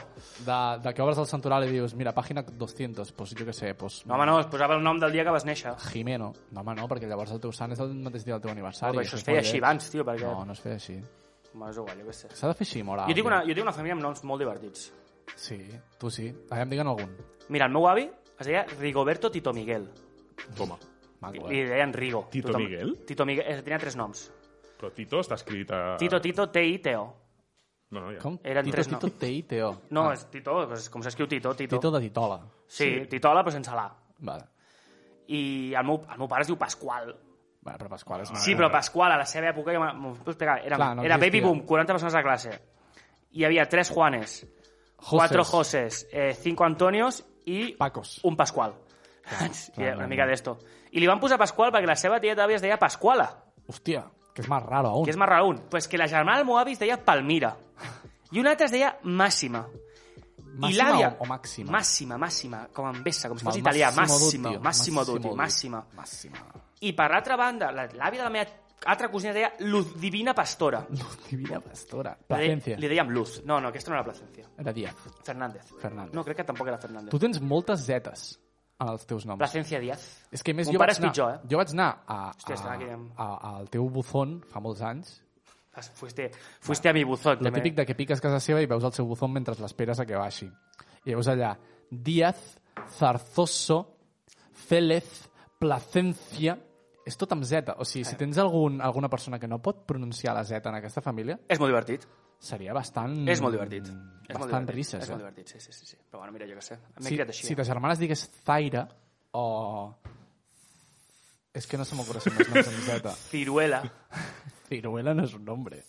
[SPEAKER 1] De, de que obres el santoral i dius, mira, pàgina 200, pues, jo què sé, pues,
[SPEAKER 2] No, home, no, es posava el nom del dia que vas néixer.
[SPEAKER 1] Jimeno. No, home, no, perquè llavors el teu sant és el mateix dia del teu aniversari.
[SPEAKER 2] Però això es
[SPEAKER 1] és
[SPEAKER 2] feia
[SPEAKER 1] molt
[SPEAKER 2] així
[SPEAKER 1] lleig.
[SPEAKER 2] abans, tio, perquè...
[SPEAKER 1] No, Ah, no es feia així.
[SPEAKER 2] Home, és igual, jo què sé.
[SPEAKER 1] S'ha de fer així, moral.
[SPEAKER 2] Jo tinc, una, jo tinc una família amb noms molt divertits.
[SPEAKER 1] Sí, tu sí. A em diguen algun.
[SPEAKER 2] Mira, el meu avi es deia Rigoberto Tito Miguel.
[SPEAKER 3] Toma.
[SPEAKER 1] Maco,
[SPEAKER 2] Li
[SPEAKER 1] eh?
[SPEAKER 2] deien Rigo.
[SPEAKER 3] Tito
[SPEAKER 2] Tothom-
[SPEAKER 3] Miguel?
[SPEAKER 2] Tito Miguel, eh, tenia tres noms.
[SPEAKER 3] Però Tito està escrit a...
[SPEAKER 2] Tito, Tito, T-I-T-O.
[SPEAKER 3] No, no, ja.
[SPEAKER 1] Com?
[SPEAKER 2] Eren
[SPEAKER 1] Tito,
[SPEAKER 2] tres
[SPEAKER 1] Tito,
[SPEAKER 2] noms.
[SPEAKER 1] T-I-T-O.
[SPEAKER 3] Ah.
[SPEAKER 2] No, és Tito, és com s'escriu Tito, Tito.
[SPEAKER 1] Tito de Titola.
[SPEAKER 2] Sí, Titola, però sense la.
[SPEAKER 1] Vale.
[SPEAKER 2] I el meu, el meu pare es diu Pasqual.
[SPEAKER 1] Bueno, però Pasqual
[SPEAKER 3] Ah.
[SPEAKER 1] és...
[SPEAKER 2] Ah. Sí, però Pasqual, a la seva època, ja m'ho- m'ho puc explicar, era,
[SPEAKER 1] Clar, no
[SPEAKER 2] era
[SPEAKER 1] existia.
[SPEAKER 2] baby boom, 40 persones a classe. Hi havia tres Juanes,
[SPEAKER 1] Joses.
[SPEAKER 2] cuatro Joses, eh, cinco Antonios i
[SPEAKER 1] Pacos.
[SPEAKER 2] un Pasqual.
[SPEAKER 1] clar,
[SPEAKER 2] Clar, una
[SPEAKER 1] clar.
[SPEAKER 2] mica d'esto. I li van posar Pasqual perquè la seva tieta àvia es deia Pasquala,
[SPEAKER 1] Hòstia, que és més raro aún.
[SPEAKER 2] que és més raro aún. Pues que la germana del meu avi es deia Palmira. I una altra es deia Màxima.
[SPEAKER 1] Màxima
[SPEAKER 2] I l'àvia...
[SPEAKER 1] o, o màxima?
[SPEAKER 2] Màxima, màxima, com amb vessa, com si
[SPEAKER 1] Amb
[SPEAKER 2] fos
[SPEAKER 1] el
[SPEAKER 2] italià.
[SPEAKER 1] Massimo
[SPEAKER 2] Màxima,
[SPEAKER 1] Dutti,
[SPEAKER 2] Màximo Dutti,
[SPEAKER 1] Massimo
[SPEAKER 2] Màxima.
[SPEAKER 1] Dutti. Màxima.
[SPEAKER 2] I per l'altra banda, la- l'àvia de la meva altra cosina es deia Luz Divina Pastora.
[SPEAKER 1] Luz Divina Pastora.
[SPEAKER 2] Li de-
[SPEAKER 1] Placencia.
[SPEAKER 2] Li dèiem Luz. No, no, aquesta no era Placencia.
[SPEAKER 1] Era Díaz.
[SPEAKER 2] Fernández.
[SPEAKER 1] Fernández.
[SPEAKER 2] No, crec que tampoc era Fernández.
[SPEAKER 1] Tu tens moltes zetes en els teus noms.
[SPEAKER 2] Placencia Díaz.
[SPEAKER 1] És que a més
[SPEAKER 2] Mon
[SPEAKER 1] jo
[SPEAKER 2] pare
[SPEAKER 1] vaig,
[SPEAKER 2] és
[SPEAKER 1] anar,
[SPEAKER 2] pitjor, eh?
[SPEAKER 1] jo vaig anar a,
[SPEAKER 2] Hòstia, estan
[SPEAKER 1] a,
[SPEAKER 2] aquí amb-
[SPEAKER 1] a, al teu buzón fa molts anys.
[SPEAKER 2] Fas- Fuiste, fuiste a mi buzón,
[SPEAKER 1] El
[SPEAKER 2] també.
[SPEAKER 1] típic de que piques casa seva i veus el seu buzón mentre l'esperes a que baixi. I veus allà Díaz, Zarzoso, Célez, Placencia... És tot amb Z. O sigui, si
[SPEAKER 2] Eh.
[SPEAKER 1] tens algun, alguna persona que no pot pronunciar la Z en aquesta família,
[SPEAKER 2] És molt divertit.
[SPEAKER 1] seria bastant...
[SPEAKER 2] És molt divertit. És
[SPEAKER 1] Mm,
[SPEAKER 2] molt
[SPEAKER 1] Bastant
[SPEAKER 2] divertit.
[SPEAKER 1] risses,
[SPEAKER 2] És
[SPEAKER 1] eh?
[SPEAKER 2] molt divertit, sí, sí, sí, sí. Però bueno, mira, jo què sé. M'he
[SPEAKER 1] si,
[SPEAKER 2] criat així. eh.
[SPEAKER 1] Si ta germana es digués Zaira o... És que no se m'ocorren els noms amb Z.
[SPEAKER 2] Ciruela,
[SPEAKER 1] Ciruela no és un nombre.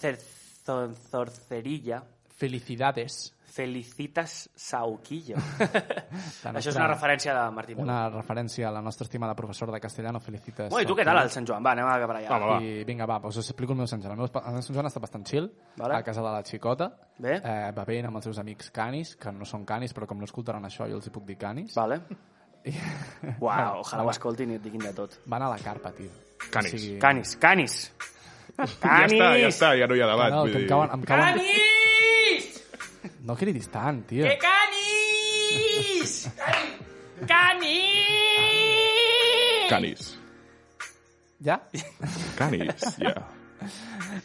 [SPEAKER 2] cer- zor- Zorcerilla,
[SPEAKER 1] Felicidades.
[SPEAKER 2] Felicitas Sauquillo.
[SPEAKER 1] La
[SPEAKER 2] Això és
[SPEAKER 1] nostra-
[SPEAKER 2] una referència de Martín. Bueno,
[SPEAKER 1] Una referència a la nostra estimada professora de castellano, Felicitas.
[SPEAKER 2] i tu què tal, el Sant Joan? Va, anem a cap allà.
[SPEAKER 3] Home, va.
[SPEAKER 1] I vinga, va, doncs us explico el meu Sant Joan. El meu, pa- el meu Sant Joan està bastant chill,
[SPEAKER 2] Vale.
[SPEAKER 1] a casa de la Xicota,
[SPEAKER 2] Bé.
[SPEAKER 1] eh, bevent amb els seus amics canis, que no són canis, però com no escoltaran això, jo els hi puc dir canis.
[SPEAKER 2] Vale. Uau, ojalà
[SPEAKER 1] va.
[SPEAKER 2] ho escoltin i et diguin de tot.
[SPEAKER 1] Van a la carpa, tio.
[SPEAKER 3] Canis.
[SPEAKER 2] Canis, canis. Canis!
[SPEAKER 3] Ja està, ja està, ja no hi ha debat.
[SPEAKER 1] No,
[SPEAKER 3] vull
[SPEAKER 1] que em
[SPEAKER 3] dir.
[SPEAKER 1] cauen, em cauen...
[SPEAKER 2] Canis!
[SPEAKER 1] No cridis tant, tio.
[SPEAKER 2] ¡Que canis! ¡Canis!
[SPEAKER 3] Canis.
[SPEAKER 1] Ja?
[SPEAKER 3] Canis, ja. Yeah.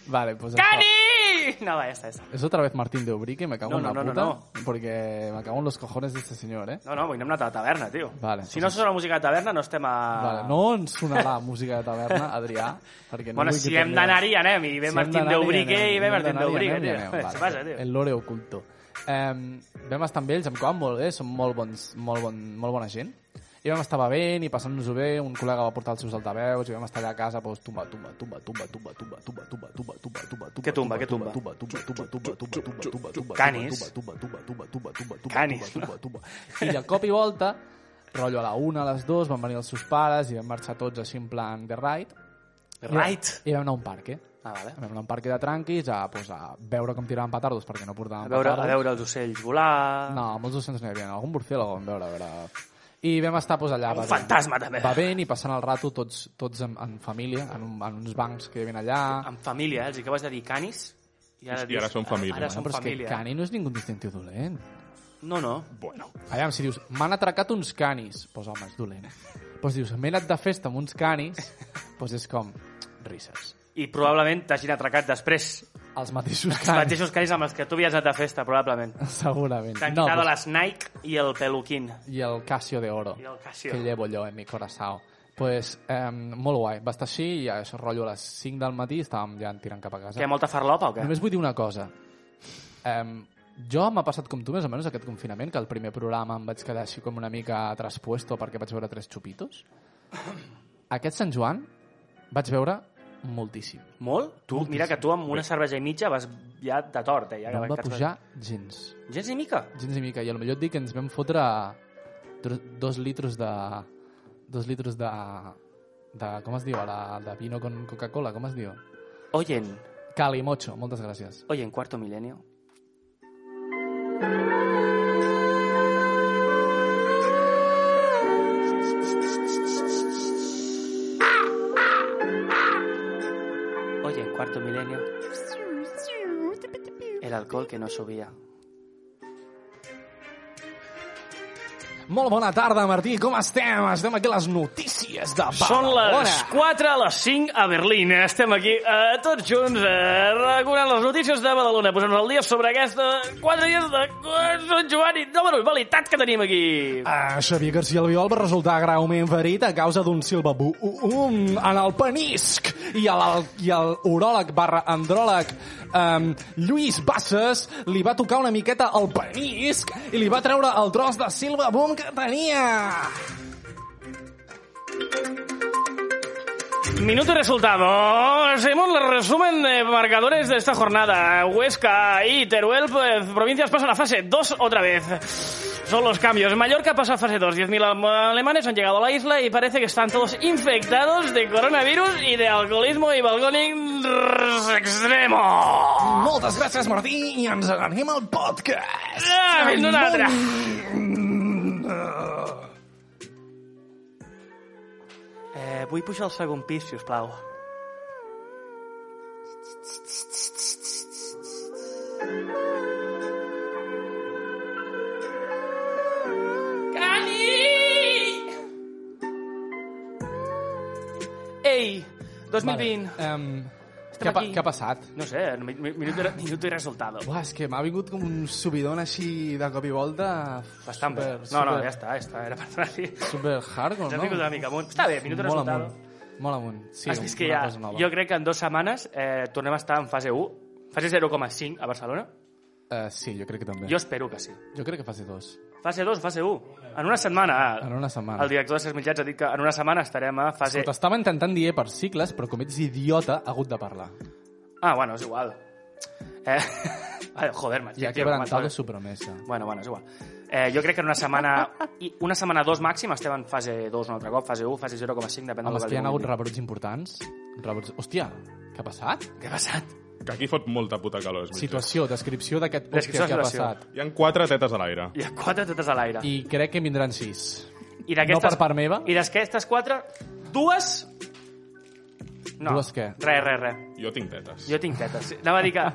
[SPEAKER 1] Vale, pues això.
[SPEAKER 2] ¡Canis! No, va, ya está, ya está.
[SPEAKER 1] Es otra vez Martín de Ubrique, me cago
[SPEAKER 2] No,
[SPEAKER 1] en la
[SPEAKER 2] no, no,
[SPEAKER 1] puta.
[SPEAKER 2] no,
[SPEAKER 1] Porque me cago en los cojones de este señor, ¿eh?
[SPEAKER 2] No, no, vull anar a la taverna, tio.
[SPEAKER 1] Vale.
[SPEAKER 2] si no sona la música de taverna, no estem a...
[SPEAKER 1] Vale, no ens sonarà música de taverna, Adrià, perquè no
[SPEAKER 2] Bueno,
[SPEAKER 1] vull que
[SPEAKER 2] si hem
[SPEAKER 1] torni a-
[SPEAKER 2] d'anar-hi, anem. I ve
[SPEAKER 1] Si eh, hem
[SPEAKER 2] Martín
[SPEAKER 1] d'anar-hi,
[SPEAKER 2] de Ubrique
[SPEAKER 1] anem.
[SPEAKER 2] i ve
[SPEAKER 1] Hem
[SPEAKER 2] Martín de
[SPEAKER 1] d'anar-hi,
[SPEAKER 2] Ubrique,
[SPEAKER 1] anem,
[SPEAKER 2] tio.
[SPEAKER 1] anem,
[SPEAKER 2] Què
[SPEAKER 1] vale.
[SPEAKER 2] passa, tio?
[SPEAKER 1] El lore oculto. Um, vam estar amb ells, em cauen molt bé, són molt, bons, molt, bon, molt bona gent. I vam estar bevent i passant-nos-ho bé, un col·lega va portar els seus altaveus i vam estar allà a casa, doncs, tumba, tumba, tumba, tumba, tumba, tumba, tumba, tumba, tumba, tumba, tumba, tumba,
[SPEAKER 2] Què tumba, què tumba?
[SPEAKER 1] tumba, tumba, tumba, tumba, tumba, tumba, tumba, tumba,
[SPEAKER 2] Canis.
[SPEAKER 1] tumba, tumba, tumba, tumba, tumba, tumba,
[SPEAKER 2] Canis,
[SPEAKER 1] tumba, tumba, tumba. I de cop i volta, rotllo a la una, a les dues, van venir els seus pares i vam marxar tots així en plan de ride.
[SPEAKER 2] Right.
[SPEAKER 1] I vam anar a un parc, eh?
[SPEAKER 2] Ah, vale.
[SPEAKER 1] Vam anar a un parc de tranquis a, pues, a veure com tiraven petardos perquè no
[SPEAKER 2] A
[SPEAKER 1] portaven
[SPEAKER 2] veure, a
[SPEAKER 1] petardos.
[SPEAKER 2] veure els ocells volar...
[SPEAKER 1] No, molts docents no hi havia. Algun burciélago vam veure, a veure. I vam estar pues, allà...
[SPEAKER 2] Un
[SPEAKER 1] bevent-
[SPEAKER 2] fantasma, també.
[SPEAKER 1] Bevent i passant el rato tots, tots en, en família, en, un, en uns bancs que hi havia allà.
[SPEAKER 2] Amb família, eh? Els acabes de dir canis... I
[SPEAKER 3] Hòstia, ara són família. eh?
[SPEAKER 2] Ara
[SPEAKER 3] Bueno,
[SPEAKER 2] són
[SPEAKER 1] però és que
[SPEAKER 2] família.
[SPEAKER 1] cani no és ningú distintiu dolent.
[SPEAKER 2] No, no.
[SPEAKER 3] Bueno.
[SPEAKER 1] Aviam, si dius, m'han atracat uns canis, doncs pues, home, és dolent. Doncs pues, dius, m'he anat de festa amb uns canis, doncs pues, és com risses.
[SPEAKER 2] I probablement t'hagin atracat després.
[SPEAKER 1] Els mateixos
[SPEAKER 2] Els
[SPEAKER 1] canis,
[SPEAKER 2] mateixos canis amb els que tu havies anat a festa, probablement.
[SPEAKER 1] segurament.
[SPEAKER 2] T'han
[SPEAKER 1] No,
[SPEAKER 2] no, quitat
[SPEAKER 1] pues-
[SPEAKER 2] les Nike i el peluquín.
[SPEAKER 1] i el Casio de Oro.
[SPEAKER 2] I el Casio.
[SPEAKER 1] Que llevo jo en eh, mi corazón. Pues, eh, molt guai. Va estar així i això rotllo a les 5 del matí estàvem ja tirant cap a
[SPEAKER 2] Que hi
[SPEAKER 1] casa.
[SPEAKER 2] ha molta farlopa o què?
[SPEAKER 1] Només vull dir una cosa. Um, jo m'ha passat com tu més o menys aquest confinament, que el primer programa em vaig quedar així com una mica traspuesto perquè vaig veure tres xupitos. Aquest Sant Joan vaig veure moltíssim.
[SPEAKER 2] Molt? Tu,
[SPEAKER 1] Moltíssim.
[SPEAKER 2] mira que tu amb una cervesa i mitja vas ja de tort, eh? Ja
[SPEAKER 1] No
[SPEAKER 2] que
[SPEAKER 1] em va
[SPEAKER 2] que-
[SPEAKER 1] pujar gens.
[SPEAKER 2] Gens ni mica.
[SPEAKER 1] Gens ni mica. I potser et dic que ens vam fotre dro- dos litros de... Dos litros de... de com es diu ara? De vino con Coca-Cola, com es diu?
[SPEAKER 2] Oyen,
[SPEAKER 1] Calimocho, moltes gràcies.
[SPEAKER 2] oyen, cuarto milenio. Oyen, cuarto milenio. El alcohol que no subía.
[SPEAKER 1] Molt bona tarda, Martí, com estem? Estem aquí a les notícies de
[SPEAKER 2] Són
[SPEAKER 1] Badalona.
[SPEAKER 2] les 4 a les 5 a Berlín. Estem aquí eh, tots junts eh, recordant les notícies de Badalona, posant-nos al dia sobre aquesta 4 dies de Sant Joan i de la normalitat que tenim aquí.
[SPEAKER 1] Uh, Xavier García Albiol va resultar greument ferit a causa d'un silbabú um, en el penisc i a l'al- i el uròleg barra andròleg um, Lluís Bassas li va tocar una miqueta el penisc i li va treure el tros de silbabum que tenia.
[SPEAKER 2] Minuto y resultados. Hemos el resumen de marcadores de esta jornada. Huesca y Teruel, pues, provincias pasan a fase 2 otra vez. Son los cambios. Mallorca pasa a fase 2. 10.000 alemanes han llegado a la isla y parece que están todos infectados de coronavirus y de alcoholismo y balgóning extremo.
[SPEAKER 4] Moltes gràcies, Martí, i ens anem al podcast.
[SPEAKER 2] Ah, fins una altra. Eh, vull pujar al segon pis, si us plau. Cali! Ei, 2020.
[SPEAKER 1] Um,
[SPEAKER 2] Estem
[SPEAKER 1] què, pa,
[SPEAKER 2] aquí.
[SPEAKER 1] què ha passat?
[SPEAKER 2] No sé, mi- mi- minuto, i- minuto y resultado.
[SPEAKER 1] Uah, és que m'ha vingut com un subidon així de cop i volta...
[SPEAKER 2] Bastant bé.
[SPEAKER 1] super-
[SPEAKER 2] No, no,
[SPEAKER 1] super-
[SPEAKER 2] ja està, ja està. Era per anar-hi.
[SPEAKER 1] Super hardcore,
[SPEAKER 2] Ens
[SPEAKER 1] no?
[SPEAKER 2] hem vingut una mica amunt. Està bé, minuto i
[SPEAKER 1] Molt
[SPEAKER 2] resultado.
[SPEAKER 1] amunt. Molt amunt. Sí,
[SPEAKER 2] Has vist que
[SPEAKER 1] una
[SPEAKER 2] ja,
[SPEAKER 1] cosa nova.
[SPEAKER 2] jo crec que en dues setmanes eh, tornem a estar en fase 1, fase 0,5 a Barcelona.
[SPEAKER 1] Eh, sí, jo crec que també.
[SPEAKER 2] Jo espero que sí.
[SPEAKER 1] jo crec que faci dos.
[SPEAKER 2] Fase 2, fase 1. En una setmana. ah.
[SPEAKER 1] En una setmana.
[SPEAKER 2] El director de Ses Mitjans ha dit que en una setmana estarem a fase...
[SPEAKER 1] Escolta, estava intentant dir E per cicles, però com ets idiota, ha hagut de parlar.
[SPEAKER 2] Ah, bueno, és igual. Eh... Ai, Joder, Martí.
[SPEAKER 1] I ha
[SPEAKER 2] tio,
[SPEAKER 1] quebrantado
[SPEAKER 2] m'has-
[SPEAKER 1] su promesa.
[SPEAKER 2] Bueno, bueno, és igual. Eh, jo crec que en una setmana... i Una setmana dos màxim estem en fase 2 un altre cop, fase 1, fase 0,5, depèn del
[SPEAKER 1] Amb els
[SPEAKER 2] que
[SPEAKER 1] que hi ha
[SPEAKER 2] vulgui
[SPEAKER 1] hagut
[SPEAKER 2] dir.
[SPEAKER 1] rebrots importants. Rebrots... Hòstia, què ha passat?
[SPEAKER 2] Què ha passat?
[SPEAKER 3] Que aquí fot molta puta calor. és veritat.
[SPEAKER 1] Situació, descripció d'aquest
[SPEAKER 2] Descripció,
[SPEAKER 1] podcast que ha passat.
[SPEAKER 2] situació.
[SPEAKER 3] Hi han quatre tetes a l'aire.
[SPEAKER 2] Hi ha quatre tetes a l'aire.
[SPEAKER 1] I crec que en vindran sis.
[SPEAKER 2] I
[SPEAKER 1] no per part meva?
[SPEAKER 2] I d'aquestes quatre, dues... No.
[SPEAKER 1] Dues què?
[SPEAKER 2] Res, res, res.
[SPEAKER 3] Jo tinc tetes.
[SPEAKER 2] Jo tinc tetes. Anava a dir que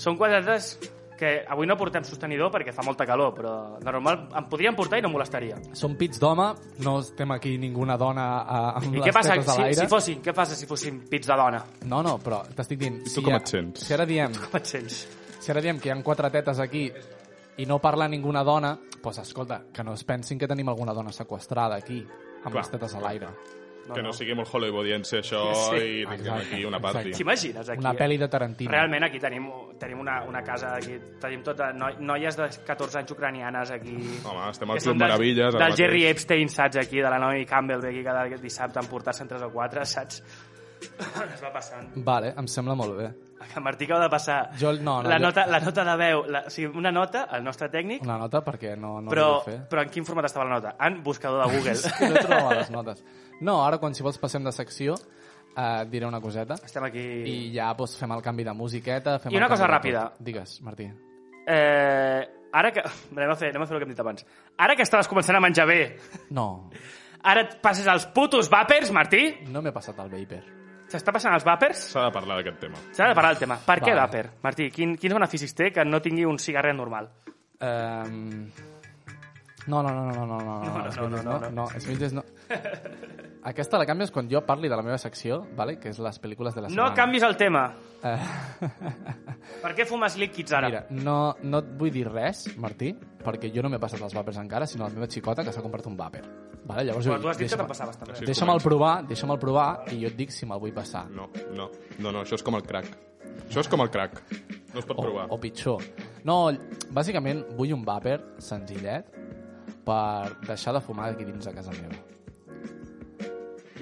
[SPEAKER 2] són quatre tetes que avui no portem sostenidor perquè fa molta calor, però de normal em podríem portar i no em molestaria.
[SPEAKER 1] Som pits d'home, no estem aquí ninguna dona a, amb
[SPEAKER 2] I
[SPEAKER 1] les
[SPEAKER 2] què passa
[SPEAKER 1] tetes a
[SPEAKER 2] si,
[SPEAKER 1] l'aire.
[SPEAKER 2] si fossin? Què passa si fossin pits de dona?
[SPEAKER 1] No, no, però t'estic dient...
[SPEAKER 3] tu com et sents?
[SPEAKER 1] Si ara, diem,
[SPEAKER 2] Com et sents?
[SPEAKER 1] si ara diem que hi ha quatre tetes aquí i no parla ninguna dona, doncs pues, escolta, que no es pensin que tenim alguna dona sequestrada aquí, amb
[SPEAKER 3] Clar.
[SPEAKER 1] les tetes a l'aire.
[SPEAKER 3] Que no sigui molt hollywoodiense això
[SPEAKER 2] Sí.
[SPEAKER 3] i tinguem
[SPEAKER 1] Exacte.
[SPEAKER 3] aquí una party.
[SPEAKER 1] Exacte.
[SPEAKER 2] T'imagines aquí? eh?
[SPEAKER 1] Una pel·li de Tarantino.
[SPEAKER 2] Realment aquí tenim, tenim una, una casa, aquí tenim tota no, noies de 14 anys ucranianes aquí.
[SPEAKER 3] Home, estem al
[SPEAKER 2] Que
[SPEAKER 3] Club
[SPEAKER 2] són dels-
[SPEAKER 3] Meravilles, ara
[SPEAKER 2] Del Jerry
[SPEAKER 3] mateix.
[SPEAKER 2] Epstein, saps, aquí, de la Naomi Campbell, ve aquí cada dissabte a emportar-se'n 3 o 4, saps? Es va passant.
[SPEAKER 1] Vale, em sembla molt bé.
[SPEAKER 2] Que Martí acaba de passar
[SPEAKER 1] Jo- no, no,
[SPEAKER 2] la,
[SPEAKER 1] jo-
[SPEAKER 2] nota, la nota de veu, la, o sigui, una nota, el nostre tècnic,
[SPEAKER 1] Una nota perquè no, no
[SPEAKER 2] però,
[SPEAKER 1] ho vull fer.
[SPEAKER 2] però en quin format estava la nota? En buscador de
[SPEAKER 1] Que no
[SPEAKER 2] Google.
[SPEAKER 1] trobava les notes. No, ara quan si vols passem de secció, eh, et diré una coseta.
[SPEAKER 2] Estem aquí...
[SPEAKER 1] I ja doncs, fem el canvi de musiqueta. Fem
[SPEAKER 2] I una
[SPEAKER 1] el canvi
[SPEAKER 2] cosa
[SPEAKER 1] de
[SPEAKER 2] ràpida.
[SPEAKER 1] tot. Digues, Martí.
[SPEAKER 2] Eh, ara que... Anem a, fer, anem a fer el que hem dit abans. Ara que estaves començant a menjar bé,
[SPEAKER 1] No,
[SPEAKER 2] ara et passes als putos vapers, Martí?
[SPEAKER 1] no m'he passat el vapor.
[SPEAKER 2] S'està passant als vapers?
[SPEAKER 3] S'ha de parlar d'aquest tema.
[SPEAKER 2] S'ha de parar el tema. Per què
[SPEAKER 1] Vale.
[SPEAKER 2] vapor? Martí, quin, quins beneficis té que no tingui un cigarret normal?
[SPEAKER 1] Um... No, no, no, no, no, no, no,
[SPEAKER 2] no,
[SPEAKER 1] no,
[SPEAKER 2] no,
[SPEAKER 1] no,
[SPEAKER 2] no,
[SPEAKER 1] no, no, els Smithers no. Aquesta la canvies quan jo parli de la meva secció, vale? que és les pel·lícules de la
[SPEAKER 2] No
[SPEAKER 1] setmana.
[SPEAKER 2] canvis el tema.
[SPEAKER 1] Eh,
[SPEAKER 2] Per què fumes líquids ara?
[SPEAKER 1] Mira, no, no et vull dir res, Martí, perquè jo no m'he passat els vapers encara, sinó la meva xicota que s'ha comprat un vapor. Vale? Llavors,
[SPEAKER 2] Però
[SPEAKER 1] jo
[SPEAKER 2] tu has dit que
[SPEAKER 1] deixa'm-
[SPEAKER 2] te'n passaves també.
[SPEAKER 3] Sí.
[SPEAKER 1] Deixa'm-el provar, deixa'm-el provar i jo et dic si me'l vull passar.
[SPEAKER 3] No, no, no, no, això és com el crack. Això és com el crack. No es pot
[SPEAKER 1] O,
[SPEAKER 3] provar.
[SPEAKER 1] o pitjor. No, ll- bàsicament vull un vapor senzillet per deixar de fumar aquí dins de casa meva.
[SPEAKER 2] I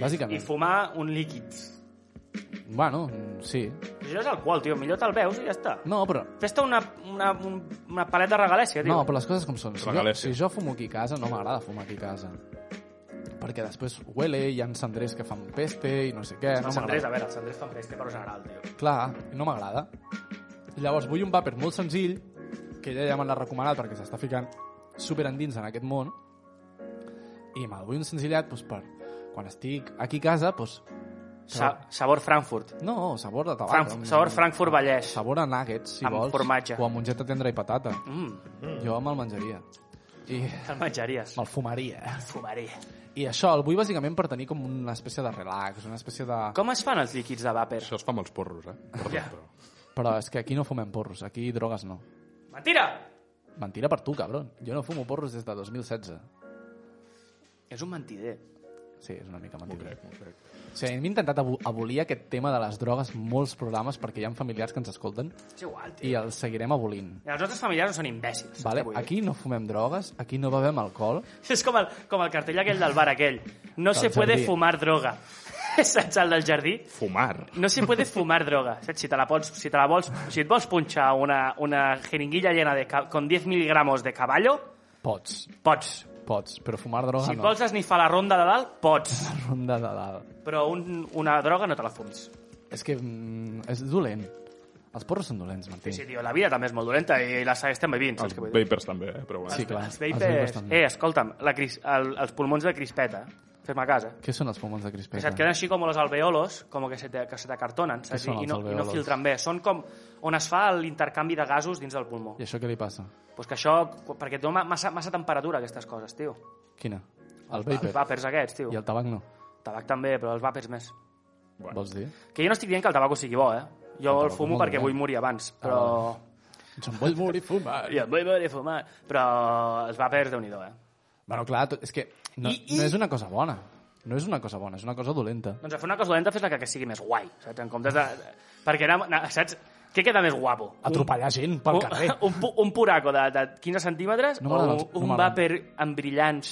[SPEAKER 1] Bàsicament.
[SPEAKER 2] fumar un líquid.
[SPEAKER 1] Bueno, mm, sí.
[SPEAKER 2] Això és alcohol, tio. Millor te'l veus i ja està.
[SPEAKER 1] No, però...
[SPEAKER 2] Fes-te una, una, un- una palet de regalèsia, tio.
[SPEAKER 1] No, però les coses com són. Si jo,
[SPEAKER 3] Regalèssia.
[SPEAKER 1] si jo fumo aquí a casa, no m'agrada fumar aquí a casa. Perquè després huele, hi ha cendrers que fan peste i no sé què.
[SPEAKER 2] Els
[SPEAKER 1] No
[SPEAKER 2] Andrés,
[SPEAKER 1] m'agrada.
[SPEAKER 2] a veure, els Andrés fan festa, però general, tio.
[SPEAKER 1] Clar, no m'agrada. Llavors vull un vapor molt senzill, que ella ja me l'ha recomanat perquè s'està ficant super endins en aquest món, i me'l vull un senzillat doncs, per quan estic aquí a casa, doncs,
[SPEAKER 2] Sa sabor Frankfurt.
[SPEAKER 1] no, sabor de tabac.
[SPEAKER 2] Frank sabor Frankfurt Vallès.
[SPEAKER 1] Sabor a nuggets, si
[SPEAKER 2] Amb
[SPEAKER 1] vols.
[SPEAKER 2] formatge.
[SPEAKER 1] O a mongeta tendra i patata.
[SPEAKER 2] Mm,
[SPEAKER 1] Jo me'l menjaria. I
[SPEAKER 2] te'l menjaries.
[SPEAKER 1] me'l fumaria.
[SPEAKER 2] Fumaria.
[SPEAKER 1] I això el vull bàsicament per tenir com una espècie de relax, una espècie de...
[SPEAKER 2] Com es fan els líquids de vàper?
[SPEAKER 3] Això es fa amb els porros, eh? Perdó,
[SPEAKER 2] Ja.
[SPEAKER 3] però...
[SPEAKER 1] Però és que aquí no fumem porros, aquí drogues no.
[SPEAKER 2] Mentira!
[SPEAKER 1] Mentira per tu, cabron. Jo no fumo porros des de 2016.
[SPEAKER 2] És un mentider.
[SPEAKER 1] Sí, és una mica
[SPEAKER 3] M'ho
[SPEAKER 1] mentida.
[SPEAKER 3] crec, m'ho crec.
[SPEAKER 1] O sigui, hem intentat abo- abolir aquest tema de les drogues en molts programes perquè hi ha familiars que ens escolten
[SPEAKER 2] És igual, tio.
[SPEAKER 1] i els seguirem abolint.
[SPEAKER 2] I els nostres familiars no són imbècils.
[SPEAKER 1] Vale?
[SPEAKER 2] què vull dir?
[SPEAKER 1] Aquí no fumem drogues, aquí no bevem alcohol.
[SPEAKER 2] És com el, com el cartell aquell del bar aquell. No
[SPEAKER 1] Del
[SPEAKER 2] se puede
[SPEAKER 1] jardí.
[SPEAKER 2] fumar droga. Saps el del jardí?
[SPEAKER 3] Fumar.
[SPEAKER 2] No se puede fumar droga. Saps? Si te la, pots, si te la vols... Si et vols punxar una, una jeringuilla llena de, ca- con 10 miligramos de caballo,
[SPEAKER 1] Pots,
[SPEAKER 2] Pots.
[SPEAKER 1] pots, però fumar droga
[SPEAKER 2] Si
[SPEAKER 1] no.
[SPEAKER 2] vols esnifar la ronda de dalt, pots.
[SPEAKER 1] Ronda de dalt.
[SPEAKER 2] Però un, una droga no te la fumis.
[SPEAKER 1] És que mm, és dolent. Els porros són dolents, Martí.
[SPEAKER 2] Sí, tio, la vida també és molt dolenta i la estem vivint, saps
[SPEAKER 3] Els
[SPEAKER 2] què vull dir?
[SPEAKER 3] vapers també, eh? però bueno.
[SPEAKER 1] Sí, clar.
[SPEAKER 2] Els
[SPEAKER 1] Els
[SPEAKER 2] vapes...
[SPEAKER 1] vapes també.
[SPEAKER 2] Eh, escolta'm, la cris... el, els pulmons de crispeta, eh? fes-me a casa,
[SPEAKER 1] Què són els pulmons de
[SPEAKER 2] que
[SPEAKER 1] crispeta?
[SPEAKER 2] se't queden així com els alveolos, com que se te, que se t'acartonen, saps?
[SPEAKER 1] són els
[SPEAKER 2] I, no, I no
[SPEAKER 1] alveolos?
[SPEAKER 2] filtren bé. Són com on es fa l'intercanvi de gasos dins del pulmó.
[SPEAKER 1] I això què li passa?
[SPEAKER 2] Pues que això, perquè et dona massa, massa temperatura, aquestes coses, tio.
[SPEAKER 1] Quina? El
[SPEAKER 2] Els
[SPEAKER 1] vapor.
[SPEAKER 2] vapers aquests, tio.
[SPEAKER 1] I el tabac no.
[SPEAKER 2] Tabac també, però els vapers més.
[SPEAKER 3] Bueno.
[SPEAKER 1] Vols dir?
[SPEAKER 2] Que jo no estic dient que el tabaco sigui bo, eh?
[SPEAKER 1] El
[SPEAKER 2] Jo el,
[SPEAKER 1] tabaco
[SPEAKER 2] fumo
[SPEAKER 1] molt eh? Ah,
[SPEAKER 2] perquè
[SPEAKER 1] dolent.
[SPEAKER 2] vull morir abans, però...
[SPEAKER 1] Jo em vull morir fumant.
[SPEAKER 2] I el vull veure fumar. Però els vapers, déu nhi eh?
[SPEAKER 1] Bueno, clar, tot- és que no,
[SPEAKER 2] I- i-
[SPEAKER 1] no és una cosa bona. No és una cosa bona, és una cosa dolenta.
[SPEAKER 2] Doncs a fer una cosa dolenta fes la que, que sigui més guai, saps? En comptes de... Perquè, anar, anar, saps? Què queda més guapo?
[SPEAKER 1] Atropellar gent pel carrer.
[SPEAKER 2] Un, un, pu- un puraco de, de 15 centímetres
[SPEAKER 1] No
[SPEAKER 2] o
[SPEAKER 1] m'agrada,
[SPEAKER 2] un,
[SPEAKER 1] no
[SPEAKER 2] un
[SPEAKER 1] m'agrada.
[SPEAKER 2] vapor amb brillants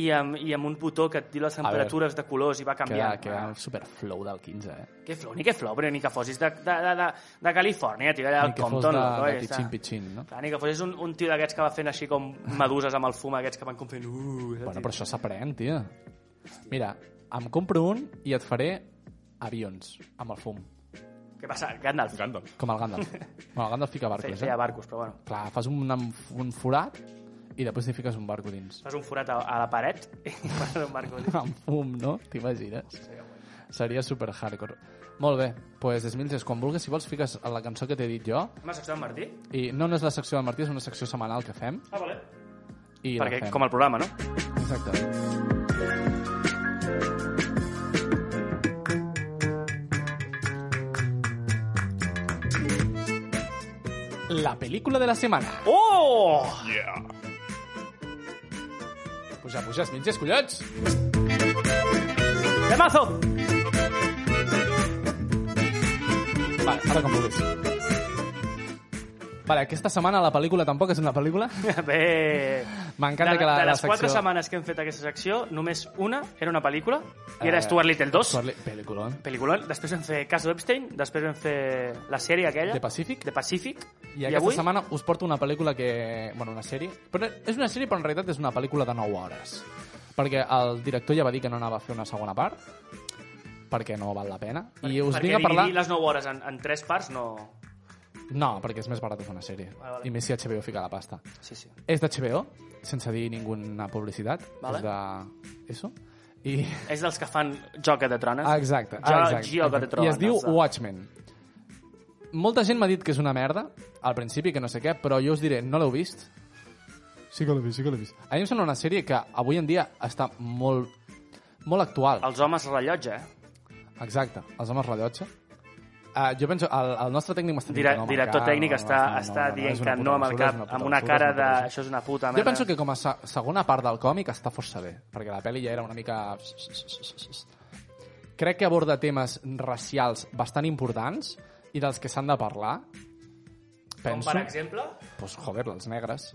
[SPEAKER 2] i amb, i amb un botó que et diu les temperatures de colors i va
[SPEAKER 1] Queda,
[SPEAKER 2] canviant.
[SPEAKER 1] queda el superflow del 15, eh?
[SPEAKER 2] Que flor, ni que flor, però ni que fossis de, de, de, de, de Califòrnia, tio, allà
[SPEAKER 1] Ni
[SPEAKER 2] del
[SPEAKER 1] que fos
[SPEAKER 2] Compton.
[SPEAKER 1] de,
[SPEAKER 2] no?
[SPEAKER 1] de
[SPEAKER 2] Ja està.
[SPEAKER 1] pitxin pitxin, no?
[SPEAKER 2] Clar, ni que fossis un, un tio d'aquests que va fent així com meduses amb el fum, aquests que van com fent... Uh,
[SPEAKER 1] Bueno, però això s'aprèn, tia. Mira, em compro un i et faré avions amb el fum,
[SPEAKER 2] Què passa? Gandalf.
[SPEAKER 3] Gandalf.
[SPEAKER 1] com el Gandalf. bueno, el Gandalf fica
[SPEAKER 2] Fe-
[SPEAKER 1] barcos,
[SPEAKER 2] Feia
[SPEAKER 1] eh?
[SPEAKER 2] barcos, però bueno.
[SPEAKER 1] Clar, fas un, un forat i després t'hi fiques un barco dins.
[SPEAKER 2] Fas un forat a, a la paret i fas un barco.
[SPEAKER 1] amb fum, no? T'imagines? Seria super hardcore. Molt bé, doncs pues, Smilges, quan vulguis, si vols, fiques la cançó que t'he dit jo.
[SPEAKER 2] M'has estat Martí?
[SPEAKER 1] I no, no és la secció del Martí, és una secció setmanal que fem.
[SPEAKER 2] Ah, vale.
[SPEAKER 1] I la
[SPEAKER 2] Perquè,
[SPEAKER 1] fem.
[SPEAKER 2] com el programa, no?
[SPEAKER 1] Exacte. La pel·lícula de la setmana.
[SPEAKER 2] Oh!
[SPEAKER 3] Yeah.
[SPEAKER 1] Puja, puja, Smilges, collons!
[SPEAKER 2] Temazo!
[SPEAKER 1] Vale, ara com vulguis. Vale, aquesta setmana la pel·lícula tampoc és una pel·lícula.
[SPEAKER 2] Bé...
[SPEAKER 1] M'encanta que la,
[SPEAKER 2] de
[SPEAKER 1] la
[SPEAKER 2] les quatre
[SPEAKER 1] secció...
[SPEAKER 2] setmanes que hem fet aquesta secció, només una era una pel·lícula, i
[SPEAKER 1] Eh,
[SPEAKER 2] era Stuart Little 2.
[SPEAKER 1] Stuart Li- Pel·lícula, eh?
[SPEAKER 2] Pel·lícula. Després vam fer Caso Epstein, després vam fer la sèrie aquella...
[SPEAKER 1] The Pacific.
[SPEAKER 2] The Pacific.
[SPEAKER 1] I aquesta avui... setmana us porto una pel·lícula que... Bueno, una sèrie. Però és una sèrie, però en realitat és una pel·lícula de 9 hores. Perquè el director ja va dir que no anava a fer una segona part, perquè no val la pena. I us
[SPEAKER 2] perquè
[SPEAKER 1] vinc a parlar...
[SPEAKER 2] dividir les 9 hores en, en 3 parts no...
[SPEAKER 1] No, perquè és més barat fer una sèrie.
[SPEAKER 2] Vale, vale.
[SPEAKER 1] I més si HBO fica la pasta.
[SPEAKER 2] Sí, sí.
[SPEAKER 1] És d'HBO, sense dir ninguna publicitat.
[SPEAKER 2] Vale.
[SPEAKER 1] És de... Eso. I...
[SPEAKER 2] És dels que fan Joc de Trones.
[SPEAKER 1] Ah, exacte.
[SPEAKER 2] Jo,
[SPEAKER 1] Ah, exacte.
[SPEAKER 2] Gio de
[SPEAKER 1] exacte.
[SPEAKER 2] Trones.
[SPEAKER 1] I es diu
[SPEAKER 2] de-
[SPEAKER 1] Watchmen. Molta gent m'ha dit que és una merda, al principi, que no sé què, però jo us diré, no l'heu vist? Sí que l'he vist, sí que l'he vist. A mi em sembla una sèrie que avui en dia està molt, molt actual.
[SPEAKER 2] Els homes rellotge, eh?
[SPEAKER 1] Exacte, els homes rellotge. Uh, jo penso, el, el nostre tècnic m'està dient
[SPEAKER 2] Dira,
[SPEAKER 1] que no,
[SPEAKER 2] director
[SPEAKER 1] Marcar,
[SPEAKER 2] tècnic
[SPEAKER 1] no,
[SPEAKER 2] està,
[SPEAKER 1] no, no,
[SPEAKER 2] està
[SPEAKER 1] no, no,
[SPEAKER 2] dient
[SPEAKER 1] és una
[SPEAKER 2] que
[SPEAKER 1] puta
[SPEAKER 2] no amb el
[SPEAKER 1] basura,
[SPEAKER 2] cap,
[SPEAKER 1] és una puta
[SPEAKER 2] amb una
[SPEAKER 1] basura, és
[SPEAKER 2] cara
[SPEAKER 1] una
[SPEAKER 2] de...
[SPEAKER 1] puta
[SPEAKER 2] Això és una puta merda.
[SPEAKER 1] Jo penso que com a se- segona part del còmic està força bé, perquè la pel·li ja era una mica... Crec que aborda temes racials bastant importants i dels que s'han de parlar.
[SPEAKER 2] Com
[SPEAKER 1] Penso...
[SPEAKER 2] per exemple...
[SPEAKER 1] Pues, joder, els negres.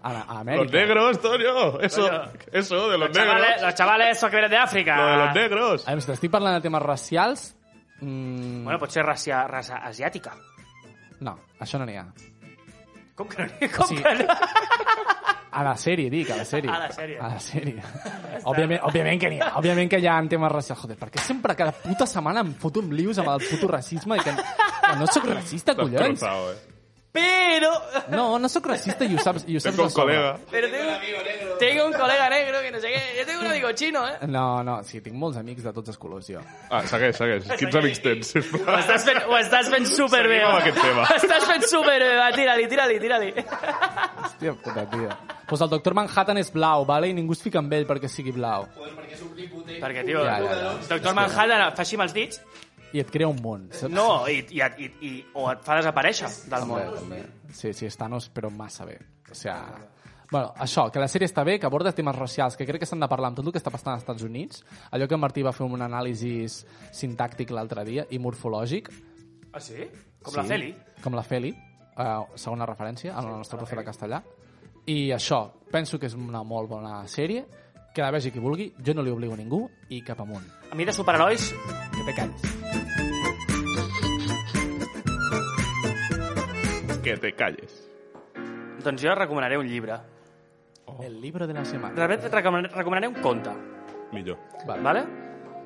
[SPEAKER 1] A, a
[SPEAKER 3] Los
[SPEAKER 1] Amèrica.
[SPEAKER 3] negros, Toño. Eso, eso de los
[SPEAKER 2] Los chavales,
[SPEAKER 3] negros.
[SPEAKER 2] los chavales esos que vienen de África.
[SPEAKER 3] Lo de los negros.
[SPEAKER 1] A veure, si t'estic parlant de temes racials... Mm,
[SPEAKER 2] Bueno, potser raça, raça asiàtica.
[SPEAKER 1] No, això no n'hi ha.
[SPEAKER 2] Com que no? Com
[SPEAKER 1] Sí.
[SPEAKER 2] que no?
[SPEAKER 1] A la sèrie, dic, a la sèrie.
[SPEAKER 2] A la sèrie.
[SPEAKER 1] A la sèrie. Òbviament, òbviament que n'hi ha. Òbviament que hi ha en temes racials. Joder, per què sempre cada puta setmana em foto amb lius amb el puto racisme i que, que no sóc racista, collons?
[SPEAKER 3] Destrozado, eh.
[SPEAKER 2] Però...
[SPEAKER 1] No, no sóc racista i ho saps, i ho saps de
[SPEAKER 3] Tengo un
[SPEAKER 1] sobre.
[SPEAKER 3] colega.
[SPEAKER 2] Pero tengo, tengo un colega negro que no sé qué. Yo tengo un amigo chino, ¿eh?
[SPEAKER 1] No, no, sí, tinc molts amics de tots els colors, jo.
[SPEAKER 3] Ah, segueix, segueix. Quins amics tens,
[SPEAKER 2] Ho
[SPEAKER 3] sisplau?
[SPEAKER 2] estàs fent, ho estàs fent superbé.
[SPEAKER 3] Seguim amb aquest tema.
[SPEAKER 2] Ho estàs fent superbé. Va, tira-li, tira-li, tira-li.
[SPEAKER 1] Hòstia puta, tio. Pues el doctor Manhattan és blau, vale? I ningú es fica amb ell perquè sigui blau.
[SPEAKER 2] Perquè, tio,
[SPEAKER 1] Ja, ja, ja.
[SPEAKER 2] Doctor Manhattan fa així amb els dits.
[SPEAKER 1] I et crea un món, saps?
[SPEAKER 2] No, i, i, i, i, o et fa desaparèixer del
[SPEAKER 1] També,
[SPEAKER 2] món.
[SPEAKER 1] també. Sí, sí, és Thanos, però massa bé. O sea... Bueno, això, que la sèrie està bé, que aborda temes racials, que crec que s'han de parlar amb tot el que està passant als Estats Units. Allò que en Martí va fer un anàlisi sintàctic l'altre dia i morfològic.
[SPEAKER 2] Ah, sí? Com la Feli.
[SPEAKER 1] Com la Feli, eh, segona referència, a la nostra profe de castellà. I això, penso que és una molt bona sèrie, que la vegi qui vulgui, jo no li obligo a ningú, i cap amunt.
[SPEAKER 2] A mi de superherois,
[SPEAKER 1] Que te calles.
[SPEAKER 3] Que te calles.
[SPEAKER 2] Doncs jo recomanaré un llibre.
[SPEAKER 1] Oh. El libro de la semana.
[SPEAKER 2] Realment recomanaré, recomanaré un conte,
[SPEAKER 3] Millor.
[SPEAKER 1] Vale.
[SPEAKER 2] vale?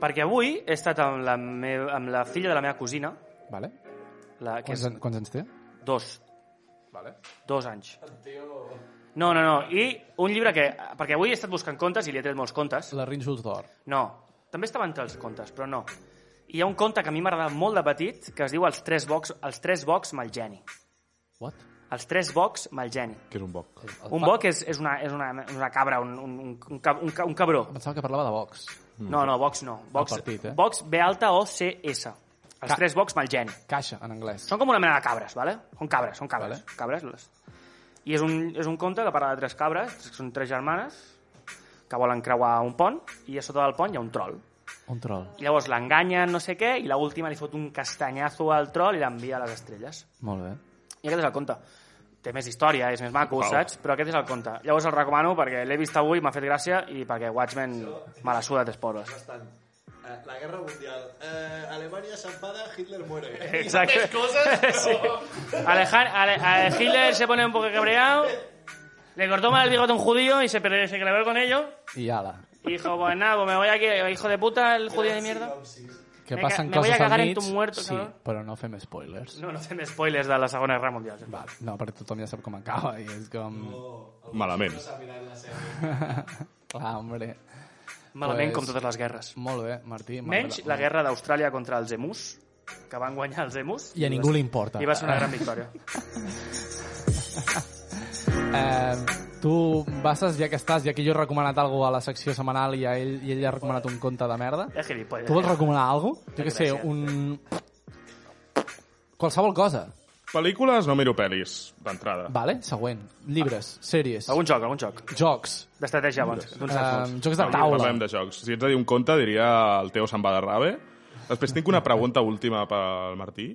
[SPEAKER 2] perquè avui he estat amb la, me amb la filla de la meva cosina,
[SPEAKER 1] vale.
[SPEAKER 2] la, que
[SPEAKER 1] Quants,
[SPEAKER 2] és
[SPEAKER 1] an- quants anys té?
[SPEAKER 2] dos,
[SPEAKER 3] Vale.
[SPEAKER 2] dos anys. No, no, no. I un llibre que... Perquè avui he estat buscant contes i li he tret molts contes.
[SPEAKER 1] La Rínxols d'Or.
[SPEAKER 2] No, també estava entre els contes, però no. I hi ha un conte que a mi m'agradava molt de petit que es diu Els tres bocs, els tres bocs mal geni.
[SPEAKER 1] What?
[SPEAKER 2] Els tres bocs mal geni.
[SPEAKER 3] Que és un boc.
[SPEAKER 2] Un boc és, és, una, és una, una cabra, un, un, un, un, cab- un, ca- un cabró.
[SPEAKER 1] Pensava que parlava de Vox.
[SPEAKER 2] No, no, bocs no. Bocs,
[SPEAKER 1] Mm. partit, eh?
[SPEAKER 2] bocs B alta o C S. Els
[SPEAKER 1] Ca-
[SPEAKER 2] tres bocs mal geni.
[SPEAKER 1] Caixa, en anglès.
[SPEAKER 2] Són com una mena de cabres, ¿vale? Són cabres, són cabres. Cabres les... I és un, és un conte que parla de tres cabres, que són tres germanes, que volen creuar un pont, i a sota del pont hi ha un troll.
[SPEAKER 1] Un troll.
[SPEAKER 2] I llavors l'enganyen, no sé què, i l última li fot un castanyazo al troll i l'envia a les estrelles.
[SPEAKER 1] Molt bé.
[SPEAKER 2] I aquest és el conte. Té més història, és més maco,
[SPEAKER 3] Uau.
[SPEAKER 2] saps? Però aquest és el conte. Llavors el recomano perquè l'he vist avui, m'ha fet gràcia, i perquè Watchmen me la suda a tres pobres.
[SPEAKER 5] Bastant. Eh, la guerra mundial. Eh, Alemania s'enfada, Hitler muere.
[SPEAKER 2] Exacte.
[SPEAKER 5] cosas?
[SPEAKER 2] Sí. Alejan- Ale- Ale- Hitler se pone un poco cabreado, le cortó mal el bigote a un judío y se, per- se clavó con ello.
[SPEAKER 1] I ala.
[SPEAKER 2] Y dijo, pues nada, pues me voy aquí, hijo de puta, el judío de mierda.
[SPEAKER 1] Que
[SPEAKER 2] Me ca-
[SPEAKER 1] passen
[SPEAKER 2] me voy a
[SPEAKER 1] coses al
[SPEAKER 2] cagar en
[SPEAKER 1] mig.
[SPEAKER 2] tu muerto,
[SPEAKER 1] sí,
[SPEAKER 2] cabrón.
[SPEAKER 1] però no fem spoilers.
[SPEAKER 2] No, no fem spoilers de la Segona Guerra Mundial.
[SPEAKER 1] Val. No, perquè tothom ja sap com acaba i és com...
[SPEAKER 3] Malament.
[SPEAKER 1] Clar, hombre.
[SPEAKER 2] Malament
[SPEAKER 1] Pues-
[SPEAKER 2] com totes les guerres.
[SPEAKER 1] Molt bé, Martí. m'ha agradat
[SPEAKER 2] Menys la
[SPEAKER 1] molt.
[SPEAKER 2] guerra d'Austràlia contra els emus, que van guanyar els emus.
[SPEAKER 1] I a ningú li importa.
[SPEAKER 2] I va ser una gran victòria.
[SPEAKER 1] Eh, tu, Basses, ja que estàs, ja que jo he recomanat alguna a la secció setmanal i, a ell, i ell ha recomanat un conte de merda,
[SPEAKER 2] És gilipolles.
[SPEAKER 1] tu vols recomanar alguna cosa? Jo que
[SPEAKER 2] Gràcies.
[SPEAKER 1] sé, un... Qualsevol cosa.
[SPEAKER 3] Pel·lícules, no miro pel·lis, d'entrada.
[SPEAKER 1] Vale? Següent. Llibres, sèries,
[SPEAKER 2] Algun joc, algun joc.
[SPEAKER 1] jocs,
[SPEAKER 2] D'estratègia, bons. D'uns
[SPEAKER 1] eh,
[SPEAKER 2] saps.
[SPEAKER 1] jocs de
[SPEAKER 3] Avui
[SPEAKER 1] taula.
[SPEAKER 3] Parlem de jocs. Si ets de dir un conte, diria el Teo se'n va de rave. Després tinc una pregunta última pel Martí.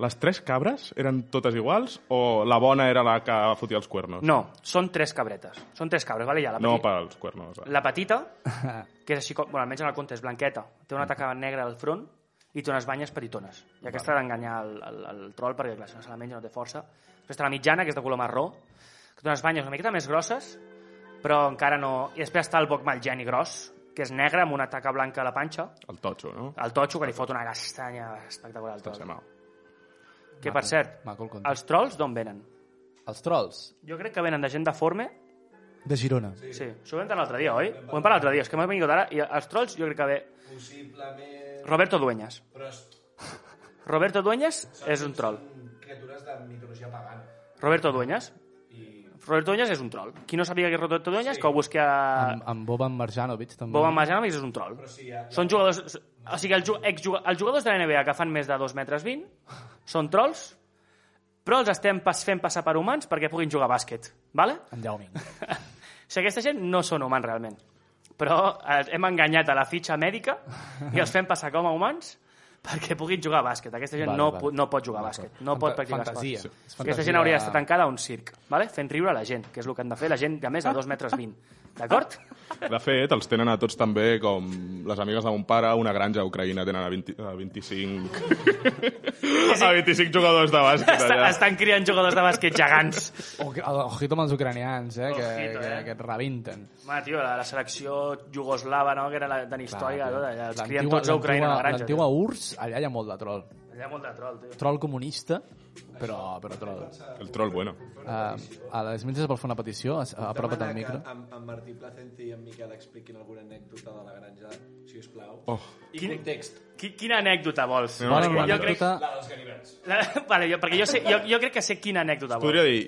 [SPEAKER 3] Les tres cabres eren totes iguals o la bona era la que fotia els cuernos?
[SPEAKER 2] No, són tres cabretes. Són tres cabres, vale? Ja, la
[SPEAKER 3] No
[SPEAKER 2] petita-
[SPEAKER 3] pels cuernos. eh?
[SPEAKER 2] La petita, que és així com... Bueno, almenys en el conte és blanqueta. Té una taca negra al front i té unes banyes petitones. I aquesta ha d'enganyar el, el, el troll perquè, clar, si no se la menja no té força. Després té la mitjana, que és de color marró, que té unes banyes una miqueta més grosses, però encara no... I després està el boc malgeni gros, que és negre amb una taca blanca a la panxa,
[SPEAKER 3] El totxo, no?
[SPEAKER 2] el totxo que li fot una castanya espectacular al
[SPEAKER 3] Està
[SPEAKER 2] troll.
[SPEAKER 3] semau.
[SPEAKER 2] Que, per cert,
[SPEAKER 1] Maco el conte.
[SPEAKER 2] els trolls d'on venen?
[SPEAKER 1] Els trolls,
[SPEAKER 2] Jo crec que venen de gent deforme
[SPEAKER 1] de Girona.
[SPEAKER 2] Sí, això ho vam parlar l'altre dia, oi? Ho vam parlar l'altre dia, és que m'ha vingut ara, i els trolls jo crec que ve...
[SPEAKER 5] Possiblement...
[SPEAKER 2] Roberto Dueñas.
[SPEAKER 5] Però és...
[SPEAKER 2] Roberto Dueñas és un troll.
[SPEAKER 5] són Criatures de mitologia pagana.
[SPEAKER 2] Roberto Dueñas. Roberto Dueñas és un troll. Qui no sabia que és Roberto Dueñas, que ho busqui a...
[SPEAKER 1] Amb, amb Boban Marjanovic, també.
[SPEAKER 2] Boban Marjanovic és un troll.
[SPEAKER 5] sí, ja-
[SPEAKER 2] Són jugadors... O sigui, els, ju- exjuga- els jugadors de la NBA que fan més de 2 metres 20 són trolls, però els estem pas fent passar per humans perquè puguin jugar a bàsquet, ¿vale?
[SPEAKER 1] En Yao Ming.
[SPEAKER 2] O sigui, aquesta gent no són humans realment. Però eh, hem enganyat a la fitxa mèdica i els fem passar com a humans perquè puguin jugar a bàsquet. Aquesta gent
[SPEAKER 1] Vale,
[SPEAKER 2] no,
[SPEAKER 1] vale.
[SPEAKER 2] pu- no pot jugar a
[SPEAKER 1] D'acord.
[SPEAKER 2] bàsquet, no pot
[SPEAKER 1] Fanta-
[SPEAKER 2] practicar
[SPEAKER 1] fantasia.
[SPEAKER 2] esport.
[SPEAKER 1] És
[SPEAKER 2] Aquesta
[SPEAKER 1] fantasia-
[SPEAKER 2] gent hauria d'estar tancada a un circ, vale? fent riure a la gent, que és el que han de fer la gent de més de 2 metres 20. D'acord?
[SPEAKER 3] De fet, els tenen a tots també com les amigues de mon pare, una granja a Ucraïna tenen a, 20, a 25... a 25 jugadors de bàsquet
[SPEAKER 2] Està,
[SPEAKER 3] allà.
[SPEAKER 2] estan criant jugadors de bàsquet gegants.
[SPEAKER 1] O- Ojito amb els ucranians, eh, que,
[SPEAKER 2] Ojito,
[SPEAKER 1] que,
[SPEAKER 2] eh.
[SPEAKER 1] que et revinten.
[SPEAKER 2] Ma, tio, la, la selecció jugoslava, no?, que era la tan històrica,
[SPEAKER 1] Clar,
[SPEAKER 2] tot,
[SPEAKER 1] tio.
[SPEAKER 2] allà, els crien
[SPEAKER 1] L'antiga-
[SPEAKER 2] tots a Ucraïna, a la
[SPEAKER 1] l'antiga-
[SPEAKER 2] granja.
[SPEAKER 1] L'antiga URSS, allà hi ha molt de troll.
[SPEAKER 2] tio. Allà hi ha molt de troll, tio.
[SPEAKER 1] Troll comunista, però, però troll.
[SPEAKER 3] El troll bueno.
[SPEAKER 1] Uh, a les mitges vol fer una petició, es- apropa't al
[SPEAKER 5] Demana que
[SPEAKER 1] micro.
[SPEAKER 5] Amb, amb Martí Placente i en Miquel expliquin alguna anècdota de la granja, si us plau.
[SPEAKER 3] Oh,
[SPEAKER 5] I
[SPEAKER 2] Quin-
[SPEAKER 5] context.
[SPEAKER 2] Qui, quina anècdota vols?
[SPEAKER 3] Anem
[SPEAKER 1] Bona
[SPEAKER 3] unes quantes.
[SPEAKER 2] jo crec-
[SPEAKER 1] anècdota.
[SPEAKER 5] La dels ganivets.
[SPEAKER 2] La, vale, jo, perquè jo, sé, jo, jo crec que sé quina anècdota vols.
[SPEAKER 3] podria dir...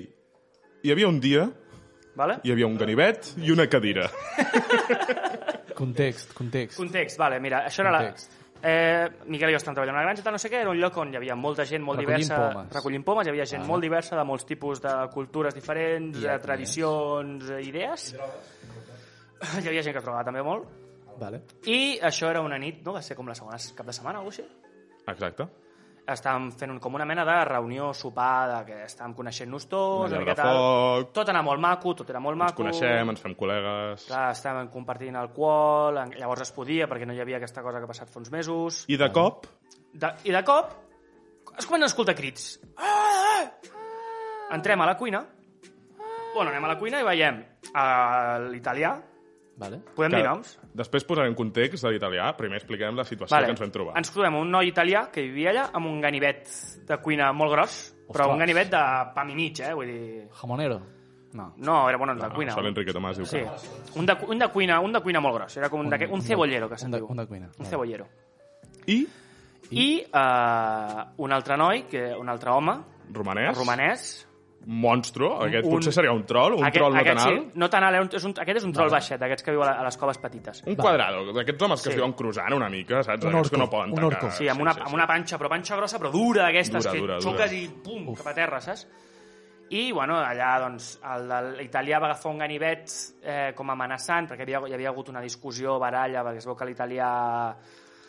[SPEAKER 3] Hi havia un dia,
[SPEAKER 2] Vale?
[SPEAKER 3] hi havia un ganivet i una cadira.
[SPEAKER 1] Context, context.
[SPEAKER 2] Context, vale, mira, això era la...
[SPEAKER 1] Context.
[SPEAKER 2] Eh, Miquel i jo estàvem treballant a una granja, tal, no sé què, era un lloc on hi havia molta gent molt
[SPEAKER 1] Recollint
[SPEAKER 2] diversa...
[SPEAKER 1] pomes.
[SPEAKER 2] Recollint pomes. Hi havia gent
[SPEAKER 1] Ah.
[SPEAKER 2] molt diversa, de molts tipus de cultures diferents,
[SPEAKER 1] I
[SPEAKER 2] de
[SPEAKER 1] ètnies.
[SPEAKER 2] tradicions, eh, idees. Hi havia gent que es drogava també molt.
[SPEAKER 1] Vale.
[SPEAKER 2] I això era una nit, no? Va ser com la segona cap de setmana o alguna cosa així.
[SPEAKER 3] Exacte.
[SPEAKER 2] estàvem fent un, com una mena de reunió, sopar, de que estàvem coneixent-nos tots, una
[SPEAKER 3] Una llar de
[SPEAKER 2] miqueta...
[SPEAKER 3] foc.
[SPEAKER 2] Tot anava molt maco, tot era molt
[SPEAKER 3] Ens
[SPEAKER 2] maco.
[SPEAKER 3] coneixem, ens fem col·legues...
[SPEAKER 2] Clar, estàvem compartint alcohol, en- llavors es podia perquè no hi havia aquesta cosa que ha passat fa uns mesos. I
[SPEAKER 3] I de cop,
[SPEAKER 2] de, i de cop es comencen a escoltar crits. Ah! Entrem a la cuina Bueno, anem a la cuina i veiem a l'italià.
[SPEAKER 1] Vale.
[SPEAKER 2] Podem dir noms?
[SPEAKER 3] Després posarem context de l'italià. Primer explicarem la situació que ens vam trobar.
[SPEAKER 2] Ens trobem un noi italià que vivia allà amb un ganivet de cuina molt gros, però
[SPEAKER 1] Ostres.
[SPEAKER 2] un ganivet de pam i mig, eh? Vull dir...
[SPEAKER 1] Jamonero? No.
[SPEAKER 2] No, era bueno, el de
[SPEAKER 3] Ah,
[SPEAKER 2] cuina.
[SPEAKER 3] Això l'Enrique Tomàs diu
[SPEAKER 2] Sí,
[SPEAKER 3] que...
[SPEAKER 2] un de, cu- un de cuina, un de cuina molt gros. Era com un, un, un cebollero, que se'n
[SPEAKER 1] un de-
[SPEAKER 2] diu.
[SPEAKER 1] un de cuina,
[SPEAKER 2] Un
[SPEAKER 1] vale.
[SPEAKER 2] cebollero.
[SPEAKER 3] I
[SPEAKER 2] I eh, un altre noi, que, un altre home,
[SPEAKER 3] romanès,
[SPEAKER 2] romanès.
[SPEAKER 3] monstro, aquest
[SPEAKER 2] Un-
[SPEAKER 3] potser seria un troll, un troll no tan alt.
[SPEAKER 2] sí, no tan alt, era un- és un, aquest és un troll baixet, d'aquests que viu a, la- a les coves petites.
[SPEAKER 3] Un quadrado, d'aquests homes que
[SPEAKER 2] Sí.
[SPEAKER 3] es diuen cruzant una mica, saps?
[SPEAKER 1] Un
[SPEAKER 3] Aquests que
[SPEAKER 1] orco,
[SPEAKER 3] no poden
[SPEAKER 1] un
[SPEAKER 3] tancar.
[SPEAKER 1] orco.
[SPEAKER 2] Sí, amb una, amb una panxa, però panxa grossa, però dura d'aquestes,
[SPEAKER 3] Dura,
[SPEAKER 2] que
[SPEAKER 3] dura,
[SPEAKER 2] xoques
[SPEAKER 3] dura.
[SPEAKER 2] i pum, cap a terra, saps? I, bueno, allà, doncs, el de l'italià va agafar un ganivet eh, com amenaçant, perquè havia, hi havia hagut una discussió, baralla, perquè es veu que l'italià...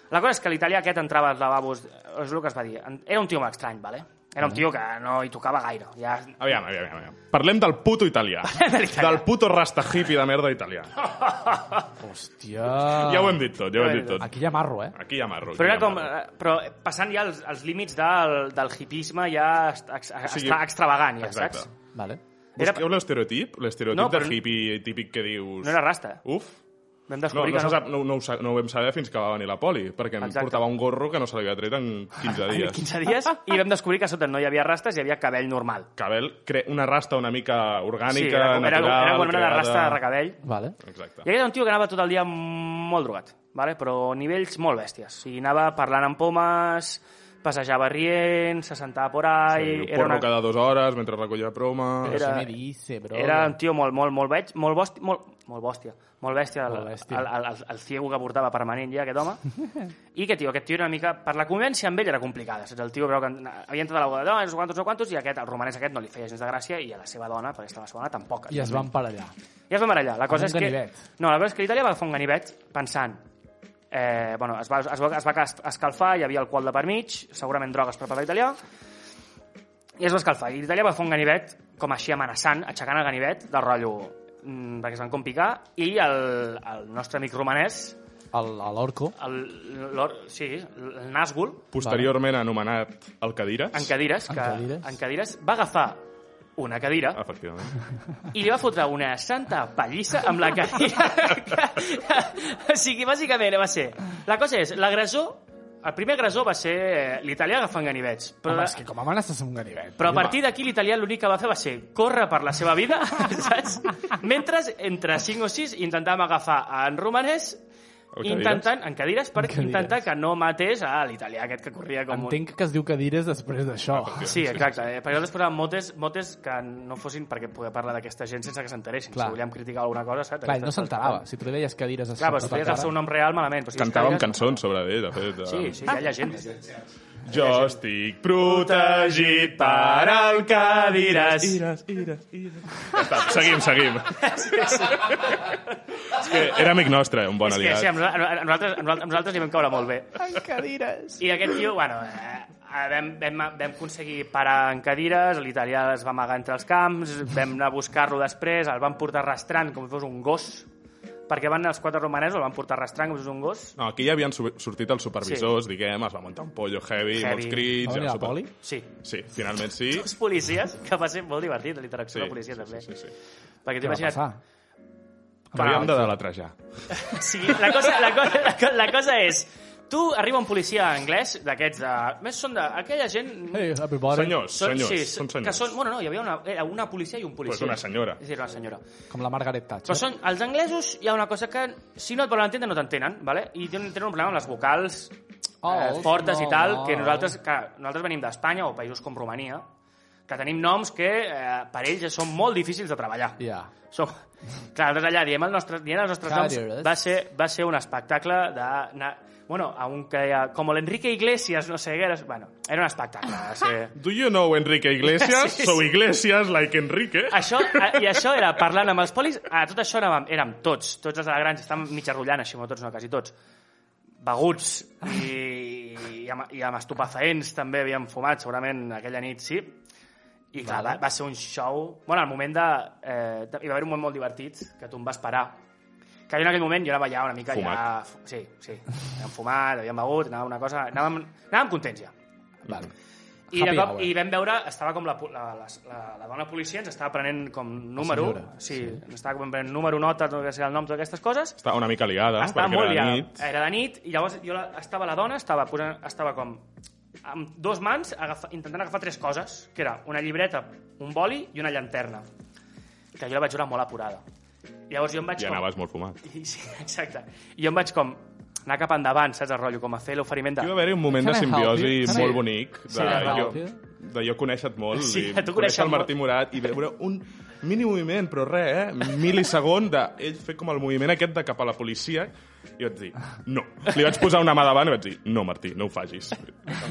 [SPEAKER 2] La cosa és que l'italià aquest entrava als lavabos, és el que es va dir. En- Era un tio molt estrany, vale? Era
[SPEAKER 3] Mm.
[SPEAKER 2] un tio que no hi tocava gaire. Ja...
[SPEAKER 3] Aviam, aviam, aviam, aviam. Parlem del puto italià. del puto rasta hippie de merda italià.
[SPEAKER 1] Ah. Hòstia...
[SPEAKER 3] Ja ho hem dit tot, ja ho hem dit tot.
[SPEAKER 1] Aquí hi ha marro, eh?
[SPEAKER 3] Aquí hi ha marro.
[SPEAKER 2] Però
[SPEAKER 3] aquí
[SPEAKER 2] era
[SPEAKER 3] hi ha
[SPEAKER 2] com...
[SPEAKER 3] marro.
[SPEAKER 2] eh, Però passant ja els, els límits del, del hipisme ja està
[SPEAKER 3] sigui,
[SPEAKER 2] extravagant, ja,
[SPEAKER 3] exacte.
[SPEAKER 2] saps?
[SPEAKER 1] Vale.
[SPEAKER 2] Era,
[SPEAKER 3] Busqueu l'estereotip, l'estereotip
[SPEAKER 2] No,
[SPEAKER 3] no,
[SPEAKER 2] però
[SPEAKER 3] del
[SPEAKER 2] no-
[SPEAKER 3] hippie típic que dius...
[SPEAKER 2] no era rasta.
[SPEAKER 3] Uf,
[SPEAKER 2] Vam
[SPEAKER 3] no,
[SPEAKER 2] descobrir
[SPEAKER 3] no,
[SPEAKER 2] que
[SPEAKER 3] se sap, no, no, ho, sa- no ho vam saber fins que va venir la poli, perquè em
[SPEAKER 2] Exacte.
[SPEAKER 3] portava un gorro que no se l'havia tret en 15
[SPEAKER 2] en
[SPEAKER 3] dies.
[SPEAKER 2] 15 dies i vam descobrir que a sota no hi havia rastes, hi havia cabell normal.
[SPEAKER 3] Cabell, cre... una rasta una mica orgànica,
[SPEAKER 2] sí, era, com- era,
[SPEAKER 3] natural...
[SPEAKER 2] era com una
[SPEAKER 3] creada-
[SPEAKER 2] rasta de recabell.
[SPEAKER 1] Vale.
[SPEAKER 3] Exacte.
[SPEAKER 2] I aquest era un tio que anava tot el dia molt drogat, vale? però a nivells molt bèsties. O sigui, anava parlant amb pomes, passejava rient, se sentava por ahí... Eh,
[SPEAKER 3] Sí, porno cada dues hores mentre recollia proma...
[SPEAKER 1] Era...
[SPEAKER 2] Era-
[SPEAKER 1] Eso me dice, bro.
[SPEAKER 2] Era un tio molt, molt, molt veig, molt, bòstia, molt, molt bòstia, molt bèstia, el,
[SPEAKER 1] Molt bèstia.
[SPEAKER 2] El, el, el, el ciego que portava permanent ja, aquest home. I que tio, aquest tio era una mica... Per la convivència amb ell era complicada, saps? El tio creu que havia entrat a la boda de dones, no sé quantos, no sé quantos, i aquest, el romanès aquest no li feia gens de gràcia, i a la seva dona, perquè estava segona, tampoc.
[SPEAKER 1] I es van parellar.
[SPEAKER 2] I es van barallar. La cosa
[SPEAKER 1] Amb
[SPEAKER 2] és
[SPEAKER 1] un
[SPEAKER 2] que...
[SPEAKER 1] ganivet.
[SPEAKER 2] No, la cosa és que l'Itàlia va agafar un ganivet pensant... Eh, bueno, es va, es, va, es va cas- escalfar, hi havia alcohol de per mig, segurament drogues per part de l'italià, i es va escalfar. I l'Itàlia va fer un ganivet com així amenaçant, aixecant el ganivet del rotllo mm, perquè es van compicar, i el, el nostre amic romanès,
[SPEAKER 1] El- A l'orco.
[SPEAKER 2] el, l'or, sí, el Nazgul,
[SPEAKER 3] Posteriorment anomenat el Cadires.
[SPEAKER 2] en cadires, que, en cadires,
[SPEAKER 1] cadires?
[SPEAKER 2] en cadires va agafar una
[SPEAKER 3] Ah.
[SPEAKER 2] cadira,
[SPEAKER 3] Efectivament.
[SPEAKER 2] i li va fotre una santa pallissa amb la cadira. o sigui, bàsicament va ser... La cosa és, l'agressor... El primer agressor va ser eh, l'italià agafant ganivets. Però,
[SPEAKER 1] Home, és que com amenaces amb un ganivet.
[SPEAKER 2] però a partir d'aquí l'italià l'únic que va fer va ser córrer per la seva vida, saps? Mentre entre 5 o 6 intentàvem agafar a en romanès
[SPEAKER 3] cadires?
[SPEAKER 2] intentant, en cadires per
[SPEAKER 1] cadires.
[SPEAKER 2] intentar que no matés a l'italià aquest que corria com un...
[SPEAKER 1] Entenc que es diu cadires després d'això.
[SPEAKER 2] Sí, exacte. Eh? Perquè nosaltres posàvem motes, motes que no fossin perquè poder parlar d'aquesta gent sense que s'enteressin.
[SPEAKER 1] Clar.
[SPEAKER 2] Si volíem criticar alguna cosa, saps?
[SPEAKER 1] Clar, ell
[SPEAKER 2] Aquestes
[SPEAKER 1] no
[SPEAKER 2] coses
[SPEAKER 1] s'enterava. Si tu li deies cadires... a
[SPEAKER 2] Clar, però
[SPEAKER 1] sota
[SPEAKER 2] si feies
[SPEAKER 1] cara-
[SPEAKER 2] el seu nom real, malament. Però si
[SPEAKER 3] Cantàvem
[SPEAKER 2] escrivies-
[SPEAKER 3] cançons sobre ell, de fet.
[SPEAKER 2] Sí, sí, hi ha llegendes.
[SPEAKER 3] Jo estic protegit per al Cadires. Ires, ires, ires. Ja està, seguim, seguim. És que era amic nostre, un bon
[SPEAKER 2] És que sí, a
[SPEAKER 3] aliat.
[SPEAKER 2] nosa- a nosaltres, a nosaltres, a nosaltres li vam caure molt bé.
[SPEAKER 1] En cadires.
[SPEAKER 2] I aquest tio, bueno, eh, eh, vam, vam, vam aconseguir parar en cadires, l'italià es va amagar entre els camps, vam anar a buscar-lo després, el van portar arrastrant com si fos un gos, perquè van anar els quatre romanesos, el van portar arrastrant com si fos un gos.
[SPEAKER 3] No, aquí ja havien su- sortit els supervisors, diguem, es va muntar un pollo heavy,
[SPEAKER 2] Heavy.
[SPEAKER 3] molts crits...
[SPEAKER 1] Va
[SPEAKER 3] ja
[SPEAKER 1] venir la
[SPEAKER 3] super-
[SPEAKER 1] poli?
[SPEAKER 2] Sí.
[SPEAKER 3] Sí, finalment sí.
[SPEAKER 2] Els policies, que va ser molt divertit, la
[SPEAKER 3] Sí,
[SPEAKER 2] interacció amb la policia, també.
[SPEAKER 3] sí, sí, sí.
[SPEAKER 2] Perquè t'ho
[SPEAKER 1] Què va
[SPEAKER 2] imagina't,
[SPEAKER 1] passar?
[SPEAKER 2] Clar,
[SPEAKER 3] Hauríem de deletrejar.
[SPEAKER 2] Sí, la cosa, la, cosa, la, co- la cosa és... Tu arriba un policia anglès d'aquests de... Més són de... Aquella gent...
[SPEAKER 1] Hey, everybody.
[SPEAKER 3] Senyors, senyors,
[SPEAKER 2] sí,
[SPEAKER 3] són senyors.
[SPEAKER 2] Que són, bueno, no, hi havia una, era una policia i un policia.
[SPEAKER 3] Pues una senyora.
[SPEAKER 2] Sí, era una senyora.
[SPEAKER 1] Com la Margaret Thatcher.
[SPEAKER 2] Però són, els anglesos hi ha una cosa que, si no et volen entendre, no t'entenen, vale? i tenen, tenen un problema amb les vocals eh,
[SPEAKER 1] Oh,
[SPEAKER 2] fortes i
[SPEAKER 1] no,
[SPEAKER 2] tal,
[SPEAKER 1] no.
[SPEAKER 2] que nosaltres, que nosaltres venim d'Espanya o països com Romania, que tenim noms que eh, per ells són molt difícils de treballar.
[SPEAKER 1] Ja.
[SPEAKER 2] Som... Clar, nosaltres allà diem, el nostre, diem els nostres noms.
[SPEAKER 1] Cadires.
[SPEAKER 2] Va ser, va ser un espectacle de... Na... Bueno, a un que deia... Com l'Enrique Iglesias, no sé què era... Bueno, era un espectacle. Va ser...
[SPEAKER 3] Do you know Enrique Iglesias?
[SPEAKER 2] Sí, sí.
[SPEAKER 3] Sou Iglesias like Enrique.
[SPEAKER 2] Això, a- I això era parlant amb els polis... A tot això érem, érem tots, tots els de la granja, estàvem mig arrullant, així, no tots, no, quasi tots. Beguts i, i, amb, i amb estupefaents també havíem fumat, segurament aquella nit sí. I clar, va, va ser un show... Bueno, al moment de... Eh, de- hi va haver un moment molt divertit, que tu em vas parar. Que jo en aquell moment jo anava ja una mica...
[SPEAKER 3] Fumat.
[SPEAKER 2] Ja, sí, sí. Havíem fumat, havíem begut, anava una cosa... Anàvem, anàvem contents ja.
[SPEAKER 1] Vale.
[SPEAKER 2] I, de
[SPEAKER 1] Happy
[SPEAKER 2] cop,
[SPEAKER 1] hour.
[SPEAKER 2] I vam veure, estava com la, po- la, la, la, la dona policia, ens estava prenent com número,
[SPEAKER 1] senyora,
[SPEAKER 2] sí, sí. estava com prenent número, nota, tot el que sigui el nom, totes aquestes coses,
[SPEAKER 3] Està una mica liada,
[SPEAKER 2] estava
[SPEAKER 3] perquè
[SPEAKER 2] molt
[SPEAKER 3] era
[SPEAKER 2] liada.
[SPEAKER 3] nit.
[SPEAKER 2] Era de nit, i llavors jo la, estava la dona, estava, posant, estava com amb dos mans agafa, intentant agafar tres coses, que era una llibreta, un boli i una llanterna, que jo la vaig veure molt apurada. Llavors jo em vaig
[SPEAKER 3] I
[SPEAKER 2] com...
[SPEAKER 3] anaves molt fumat.
[SPEAKER 2] I- Sí, exacte. I jo em vaig com anar cap endavant, saps, el rotllo, com a fer l'oferiment de...
[SPEAKER 3] Hi va haver un moment
[SPEAKER 1] Can
[SPEAKER 3] de
[SPEAKER 1] I help
[SPEAKER 3] simbiosi
[SPEAKER 1] you? Can
[SPEAKER 3] molt
[SPEAKER 1] I-
[SPEAKER 3] bonic de,
[SPEAKER 2] Sí, can I
[SPEAKER 3] jo,
[SPEAKER 1] help you?
[SPEAKER 3] de jo conèixer-te molt
[SPEAKER 2] Sí,
[SPEAKER 3] i
[SPEAKER 2] de tu conèixer
[SPEAKER 3] el Martí Morat i veure un mini moviment, però res, eh? Milisegon de ell fer com el moviment aquest de cap a la policia i vaig dir, no. Li vaig posar una mà davant i vaig dir, no, Martí, no ho facis. Tot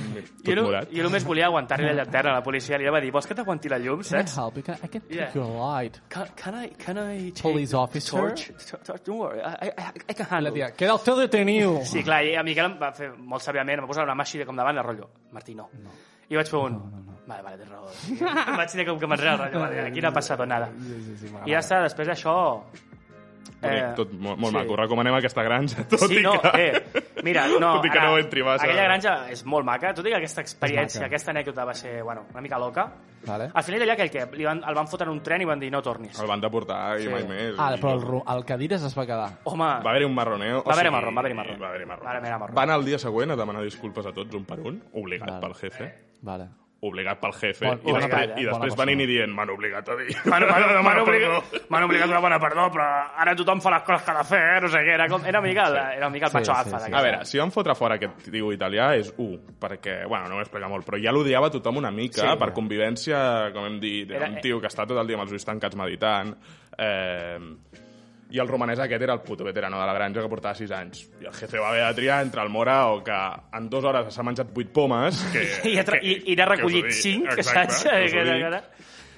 [SPEAKER 2] Jo, no,
[SPEAKER 3] morat.
[SPEAKER 2] jo només volia aguantar-li la llanterna a la policia. Li va dir, vols que t'aguanti la llum,
[SPEAKER 1] Can I
[SPEAKER 2] saps?
[SPEAKER 1] help you? Can I, I can take
[SPEAKER 2] Yeah.
[SPEAKER 1] your light.
[SPEAKER 2] Can, can I, can I take
[SPEAKER 1] Police
[SPEAKER 2] the
[SPEAKER 1] officer?
[SPEAKER 2] Torch? To- torch? Don't worry, I, I, I can
[SPEAKER 1] La
[SPEAKER 2] handle
[SPEAKER 1] tia, queda el teu deteniu.
[SPEAKER 2] Sí, clar, i a Miquel em va fer molt sàviament, em va posar una mà així de com davant, de rotllo, Martí, no. I vaig fer un... No, no, no. Vale, vale, tens raó. em vaig dir com que m'enrere el rotllo, vale, aquí no ha passat nada. I ja està, després d'això...
[SPEAKER 3] Bonic, tot molt, molt maco. Recomanem aquesta granja, tot
[SPEAKER 2] sí,
[SPEAKER 3] i
[SPEAKER 2] no,
[SPEAKER 3] que...
[SPEAKER 2] eh, mira, no,
[SPEAKER 3] tot i que
[SPEAKER 2] ara,
[SPEAKER 3] no entri massa.
[SPEAKER 2] aquella granja és molt maca, tot i que aquesta experiència,
[SPEAKER 1] maca.
[SPEAKER 2] aquesta anècdota va ser, bueno, una mica loca.
[SPEAKER 1] Vale.
[SPEAKER 2] Al final hi havia aquell que li van, el van fotre en un tren i van dir no tornis.
[SPEAKER 3] El van deportar i
[SPEAKER 2] Sí.
[SPEAKER 3] mai més.
[SPEAKER 1] Ah,
[SPEAKER 3] i-
[SPEAKER 1] però el, ru- el Cadires es va quedar.
[SPEAKER 2] Home,
[SPEAKER 3] Va haver-hi un marroneo. o
[SPEAKER 2] Va haver-hi
[SPEAKER 3] sigui,
[SPEAKER 2] marrón, va haver-hi marrón.
[SPEAKER 3] Va haver-hi marrón.
[SPEAKER 2] Va haver-hi marrón.
[SPEAKER 3] Va anar el dia següent a demanar disculpes a tots, un per un, obligat
[SPEAKER 1] Val.
[SPEAKER 3] pel jefe.
[SPEAKER 1] Vale.
[SPEAKER 3] Obligat pel jefe.
[SPEAKER 1] Bon-
[SPEAKER 3] I,
[SPEAKER 2] bona
[SPEAKER 3] després,
[SPEAKER 2] persona,
[SPEAKER 3] i
[SPEAKER 1] eh?
[SPEAKER 3] després
[SPEAKER 1] Bona
[SPEAKER 3] van i dient, m'han obligat a dir.
[SPEAKER 2] M'han m'han- m'han
[SPEAKER 3] Demano
[SPEAKER 2] obligat,
[SPEAKER 3] perdó.
[SPEAKER 2] m'han obligat una bona perdó, però ara tothom fa les coses que ha de fer, eh? no sé què. Era, com, era una mica, el, era una mica el
[SPEAKER 1] Sí,
[SPEAKER 2] Pancho
[SPEAKER 1] sí, sí.
[SPEAKER 2] Alfa. d'aquesta.
[SPEAKER 3] A veure, si van fotre fora aquest tio italià és un, perquè, bueno, no m'ho explica molt, però ja l'odiava tothom una mica,
[SPEAKER 2] Sí.
[SPEAKER 3] per convivència, com hem dit, era,
[SPEAKER 2] Era- eh,
[SPEAKER 3] un tio que està tot el dia amb els ulls tancats meditant, eh, i el romanès aquest era el puto veterano de la granja que portava 6 anys. I el jefe va haver de triar entre el Mora o que en dues hores s'ha menjat 8 pomes... Que,
[SPEAKER 2] I ha tra-
[SPEAKER 3] que-
[SPEAKER 2] i- i n'ha
[SPEAKER 3] que us ho
[SPEAKER 2] recollit
[SPEAKER 3] dic.
[SPEAKER 2] cinc,
[SPEAKER 3] Exacte,
[SPEAKER 2] saps?
[SPEAKER 3] que Ah. us ho
[SPEAKER 2] Que era-
[SPEAKER 3] dic.
[SPEAKER 2] que era-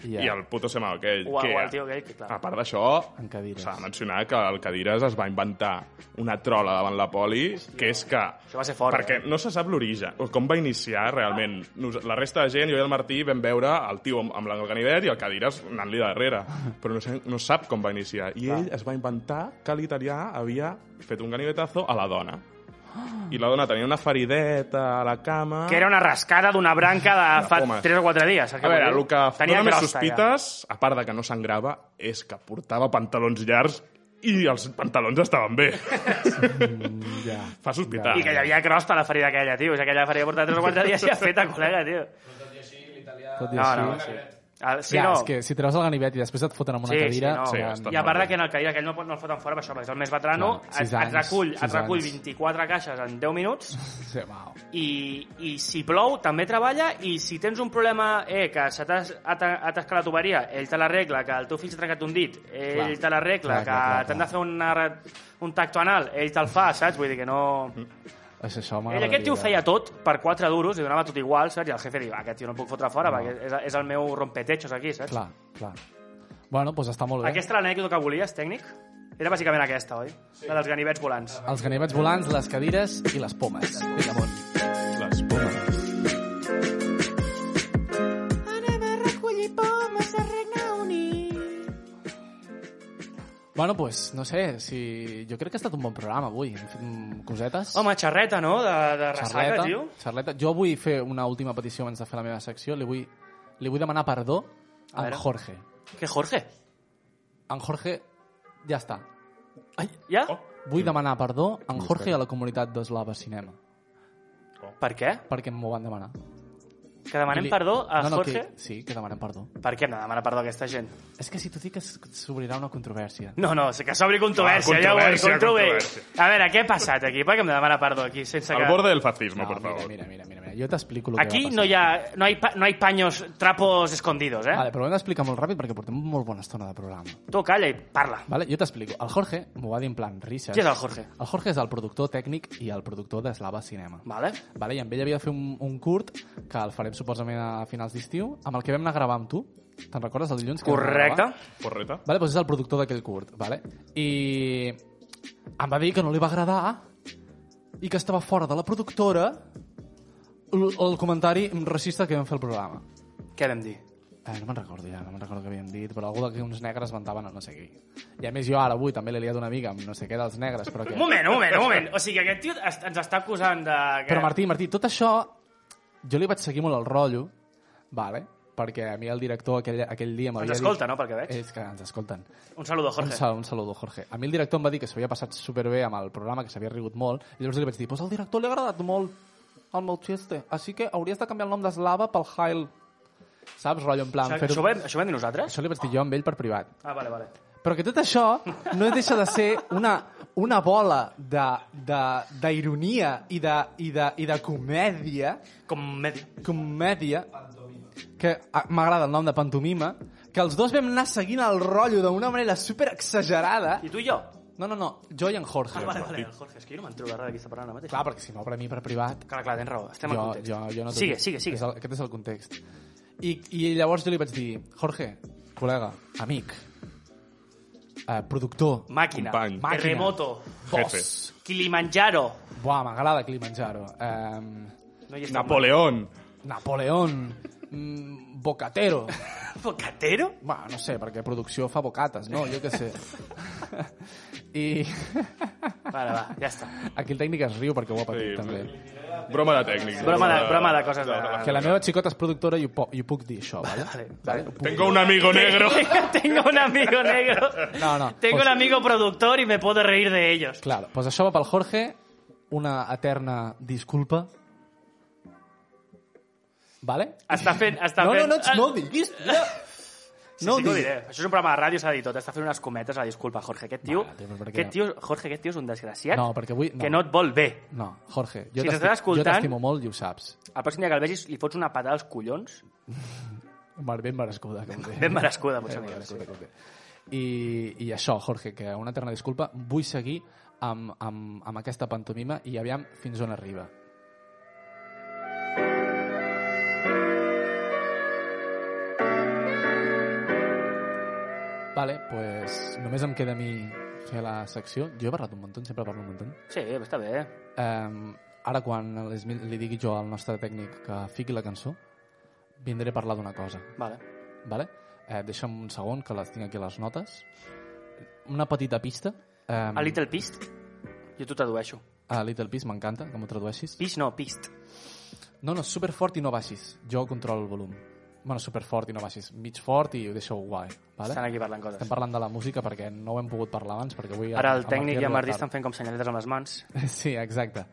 [SPEAKER 3] I el puto sema aquell.
[SPEAKER 2] O- o el tio aquell, que clar.
[SPEAKER 3] A part d'això,
[SPEAKER 1] En Cadires.
[SPEAKER 3] s'ha de mencionar que el Cadires es va inventar una trola davant la poli, que és que...
[SPEAKER 2] Això va ser fort, eh?
[SPEAKER 3] Perquè no se sap l'origen, o com va iniciar realment. Nos, la resta de gent, jo i el Martí, vam veure el tio amb, amb l'ganivet i el Cadires anant-li darrere. Però no, sé, no sap com va iniciar. I ell es va inventar que l'italià havia fet un ganivetazo a la dona. I la dona tenia una ferideta a la cama...
[SPEAKER 2] que era una rascada d'una branca de fa
[SPEAKER 3] pomes.
[SPEAKER 2] 3 o 4 dies. saps
[SPEAKER 3] A
[SPEAKER 2] què
[SPEAKER 3] veure,
[SPEAKER 2] vull dir?
[SPEAKER 3] el que Tenia dona més
[SPEAKER 2] crosta,
[SPEAKER 3] sospites, a part de que no sangrava, és que portava pantalons llargs i els pantalons estaven bé.
[SPEAKER 1] Ja.
[SPEAKER 3] Fa sospitar.
[SPEAKER 2] Ja. I que hi havia crosta a la ferida aquella, tio. És aquella ferida portada 3 o 4 dies i ha feta, col·lega, tio.
[SPEAKER 1] Tot i
[SPEAKER 2] No,
[SPEAKER 1] així...
[SPEAKER 2] no, sí. Ah, sí,
[SPEAKER 1] ja,
[SPEAKER 2] no.
[SPEAKER 1] és que si treus el ganivet i després et foten amb una
[SPEAKER 2] Sí, sí,
[SPEAKER 1] cadira...
[SPEAKER 2] no.
[SPEAKER 3] Sí,
[SPEAKER 1] ja-
[SPEAKER 3] bastant.
[SPEAKER 2] I a part de que en el caire aquell no, pot- no el foten fora, per això, perquè és el més veterano,
[SPEAKER 1] Clar,
[SPEAKER 2] et,
[SPEAKER 1] sis
[SPEAKER 2] et,
[SPEAKER 1] anys,
[SPEAKER 2] recull, et
[SPEAKER 1] sis
[SPEAKER 2] recull
[SPEAKER 1] anys.
[SPEAKER 2] 24 caixes en 10 minuts
[SPEAKER 1] Sí, uau.
[SPEAKER 2] i, i si plou també treballa i si tens un problema eh, que se t'ha ha ta- ha tascat la tuberia ell te l'arregla, que el teu fill s'ha trencat un dit ell
[SPEAKER 1] Clar.
[SPEAKER 2] te l'arregla,
[SPEAKER 1] Clar,
[SPEAKER 2] que
[SPEAKER 1] clar, clar,
[SPEAKER 2] t'han de
[SPEAKER 1] clar.
[SPEAKER 2] fer una, re- un tacto anal ell te'l fa, saps? Vull dir que no...
[SPEAKER 1] Això, això
[SPEAKER 2] Ell
[SPEAKER 1] Mm, m'agradaria.
[SPEAKER 2] aquest tio ho feia tot per 4 duros i donava tot igual, saps? I el jefe diu, aquest tio no el puc fotre fora perquè és, és el meu rompetechos aquí, saps?
[SPEAKER 1] Clar, clar. Bueno, doncs està molt bé.
[SPEAKER 2] Aquesta era l'anècdota que volies, tècnic? Era bàsicament aquesta, oi? Sí. La dels ganivets volants.
[SPEAKER 1] Els ganivets volants, les cadires i les pomes. Vinga, bon.
[SPEAKER 3] Les pomes.
[SPEAKER 6] Anem a recollir pomes al Regne Unit.
[SPEAKER 1] Bueno, pues, no sé, si... jo crec que ha estat un bon programa avui. Hem fet mm, cosetes.
[SPEAKER 2] Home, xerreta, no? De, de ressaca,
[SPEAKER 1] xarleta,
[SPEAKER 2] tio.
[SPEAKER 1] xarleta. Jo vull fer una última petició abans de fer la meva secció. Li vull, li vull demanar perdó
[SPEAKER 2] A
[SPEAKER 1] a en
[SPEAKER 2] veure.
[SPEAKER 1] Jorge.
[SPEAKER 2] Que Jorge.
[SPEAKER 1] En Jorge ja està.
[SPEAKER 2] Ai, ja?
[SPEAKER 3] Oh.
[SPEAKER 2] Oh.
[SPEAKER 1] Vull demanar perdó a en Jorge i a la comunitat d'Eslava Cinema,
[SPEAKER 2] Per què?
[SPEAKER 1] perquè m'ho van demanar.
[SPEAKER 2] Que
[SPEAKER 1] I
[SPEAKER 2] demanem
[SPEAKER 1] li-
[SPEAKER 2] perdó a
[SPEAKER 1] no, no,
[SPEAKER 2] Jorge?
[SPEAKER 1] Que, sí, que demanem perdó.
[SPEAKER 2] Per què hem de demanar perdó a aquesta gent?
[SPEAKER 1] És que si t'ho dic es- s'obrirà una controvèrsia.
[SPEAKER 2] No, no, sí que s'obri controvèrsia,
[SPEAKER 3] Ah,
[SPEAKER 2] ja ho veig,
[SPEAKER 3] controvèrsia,
[SPEAKER 2] controvèrsia. A veure, què ha passat aquí? Per què hem de demanar perdó aquí? Sense
[SPEAKER 3] Al
[SPEAKER 2] que...
[SPEAKER 3] borde del fascisme,
[SPEAKER 1] no,
[SPEAKER 3] por favor.
[SPEAKER 1] Mira, mira, mira, mira. jo t'explico el que
[SPEAKER 2] Aquí
[SPEAKER 1] va passar.
[SPEAKER 2] no hi ha, no hay, pa- no hay paños, trapos escondidos, eh?
[SPEAKER 1] Vale, però ho hem d'explicar molt ràpid perquè portem molt bona estona de programa.
[SPEAKER 2] Tu calla i parla.
[SPEAKER 1] Vale, jo t'explico. El Jorge m'ho va dir en plan research.
[SPEAKER 2] Qui és el Jorge?
[SPEAKER 1] El Jorge és el productor tècnic i el productor d'Eslava Cinema.
[SPEAKER 2] Vale?
[SPEAKER 1] Vale, I amb ell havia de fer un, un curt que el farem suposadament a finals d'estiu, amb el que vam anar a gravar amb tu. Te'n recordes el dilluns? que vam anar a
[SPEAKER 2] Correcte.
[SPEAKER 1] gravar?
[SPEAKER 3] Porreta.
[SPEAKER 1] Vale, doncs és el productor d'aquell curt. Vale? I em va dir que no li va agradar i que estava fora de la productora el, el comentari racista que vam fer al programa.
[SPEAKER 2] Què vam dir?
[SPEAKER 1] Eh, no me'n recordo ja, no me'n recordo què havíem dit, però algú de que uns negres ventaven a no sé qui. I a més jo ara avui també l'he liat una mica amb no sé què dels negres, però que...
[SPEAKER 2] Un moment, un moment, un moment. O sigui, aquest tio es- ens està acusant de... Que...
[SPEAKER 1] Però Martí, Martí, tot això jo li vaig seguir molt el rotllo, vale? perquè a mi el director aquell, aquell dia m'havia dit...
[SPEAKER 2] escolta, no, pel que veig?
[SPEAKER 1] És que ens escolten.
[SPEAKER 2] Un saludo,
[SPEAKER 1] Eh, Un
[SPEAKER 2] Jorge.
[SPEAKER 1] saludo, un saludo, Jorge. A mi el director em va dir que s'havia passat superbé amb el programa, que s'havia rigut molt, i llavors li vaig dir, pues al director li ha agradat molt el meu xiste, així que hauries de canviar el nom d'Eslava pel Hail. Saps, rotllo, en plan...
[SPEAKER 2] Això,
[SPEAKER 1] fer-ho-
[SPEAKER 2] això, ho vam, això ho vam dir nosaltres?
[SPEAKER 1] això li vaig dir jo amb ell per privat.
[SPEAKER 2] Ah, vale, vale.
[SPEAKER 1] Però que tot això no deixa de ser una, una bola de- de- d'ironia i, de, i, de, i de comèdia,
[SPEAKER 2] Com medi...
[SPEAKER 1] comèdia, que ah, m'agrada el nom de pantomima, que els dos vam anar seguint el rotllo d'una manera super exagerada.
[SPEAKER 2] I tu i jo?
[SPEAKER 1] No, no, no, jo i en Jorge.
[SPEAKER 2] Ah, vale, vale, Jorge, és que jo no m'entro de res d'aquí està parlant ara mateix.
[SPEAKER 1] Clar, perquè si no, per a mi, per privat...
[SPEAKER 2] Clar, clar, tens raó, estem
[SPEAKER 1] jo,
[SPEAKER 2] en context.
[SPEAKER 1] jo, jo no t'ho
[SPEAKER 2] sigue,
[SPEAKER 1] dic.
[SPEAKER 2] sigue, sigue.
[SPEAKER 1] És el, aquest és el context. I, I llavors jo li vaig dir, Jorge, col·lega, amic, eh, productor,
[SPEAKER 2] Màquina,
[SPEAKER 3] Company.
[SPEAKER 1] Màquina.
[SPEAKER 2] terremoto,
[SPEAKER 3] Jefe.
[SPEAKER 1] boss,
[SPEAKER 2] Kilimanjaro.
[SPEAKER 1] Buah, m'agrada Kilimanjaro. Um,
[SPEAKER 2] No hi està
[SPEAKER 3] Napoleón.
[SPEAKER 1] Napoleón. Mm, bocatero.
[SPEAKER 2] mal. Bocatero?
[SPEAKER 1] Bah, no sé, perquè producció fa bocates, no? Jo què sé. I
[SPEAKER 2] Vale, va, ja està.
[SPEAKER 1] aquí el tècnic es riu perquè ho ha patit,
[SPEAKER 3] Sí,
[SPEAKER 1] també.
[SPEAKER 3] Broma de tècnics. eh.
[SPEAKER 2] Broma de- broma de coses de-
[SPEAKER 1] Que la meva xicota és productora i ho, po- i ho puc dir, això, vale?
[SPEAKER 2] Vale,
[SPEAKER 1] vale. Ho puc
[SPEAKER 3] Tengo un amigo negro.
[SPEAKER 2] Tengo un amigo negro.
[SPEAKER 1] No, no,
[SPEAKER 2] Tengo
[SPEAKER 1] pues-
[SPEAKER 2] un amigo productor y me puedo reír de ellos.
[SPEAKER 1] Claro, pues això va pel Jorge, una eterna disculpa. Vale?
[SPEAKER 2] Està fent... Està
[SPEAKER 1] No, no,
[SPEAKER 2] fent...
[SPEAKER 1] no, no ho diguis. No, no
[SPEAKER 2] Ah. Sí, sí, que ho
[SPEAKER 1] diguis.
[SPEAKER 2] diré. Això és un programa de ràdio, s'ha de dir tot. Està fent unes cometes a la disculpa, Jorge. Aquest tio,
[SPEAKER 1] Vale, tio, però per què
[SPEAKER 2] aquest
[SPEAKER 1] no?
[SPEAKER 2] tio, Jorge, aquest tio és un desgraciat
[SPEAKER 1] No, perquè avui- no.
[SPEAKER 2] que no et vol bé.
[SPEAKER 1] No, Jorge, jo
[SPEAKER 2] Si t'estàs
[SPEAKER 1] t'esti- jo
[SPEAKER 2] escoltant-
[SPEAKER 1] t'estimo molt i ho saps.
[SPEAKER 2] El pròxim dia que el vegis li fots una patada als collons
[SPEAKER 1] Mar- Ben merescuda, com deia.
[SPEAKER 2] ben merescuda, potser.
[SPEAKER 1] Ben
[SPEAKER 2] millor,
[SPEAKER 1] merescuda, com deia. I, I això, Jorge, que una eterna disculpa. Vull seguir amb, amb, amb aquesta pantomima i aviam fins on arriba. Vale, pues només em queda a mi fer la secció. Jo he parlat un muntó, sempre parlo un muntó.
[SPEAKER 2] Sí, Sí, està bé.
[SPEAKER 1] Um, ara, quan a l'Esmil li digui jo al nostre tècnic que fiqui la cançó, vindré a parlar d'una cosa.
[SPEAKER 2] Vale.
[SPEAKER 1] Vale? Eh, deixa'm un segon, que les tinc aquí les notes. Una petita pista. Eh,
[SPEAKER 2] A Little Pist, jo t'ho tradueixo.
[SPEAKER 1] a Little Peace, m'encanta, que m'ho tradueixis.
[SPEAKER 2] Pist no, Pist.
[SPEAKER 1] No, no, superfort i no baixis. Jo controlo el volum. Bueno, superfort i no baixis. Mig fort i ho deixo guai. Vale?
[SPEAKER 2] Estan aquí parlant coses.
[SPEAKER 1] Estem parlant de la música perquè no ho hem pogut parlar abans, perquè avui...
[SPEAKER 2] Ara el
[SPEAKER 1] amb
[SPEAKER 2] tècnic i
[SPEAKER 1] Pierre
[SPEAKER 2] el Martí
[SPEAKER 1] Lothar-
[SPEAKER 2] estan fent com senyaletes amb les mans.
[SPEAKER 1] Sí, exacte.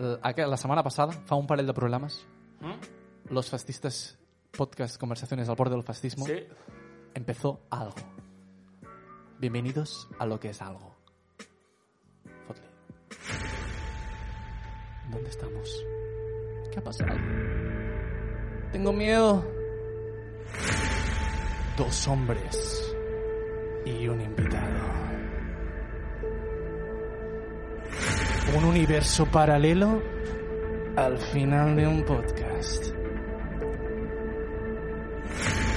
[SPEAKER 1] L- aqu- La setmana passada, fa un parell de programes, Los Fastistas Podcast Conversaciones al Borde del Fascismo empezó algo. Bienvenidos a lo que es algo. Fotle. ¿Dónde estamos? ¿Qué ha pasado? Tengo miedo. Dos hombres y un invitado. un universo paralelo al final de un podcast.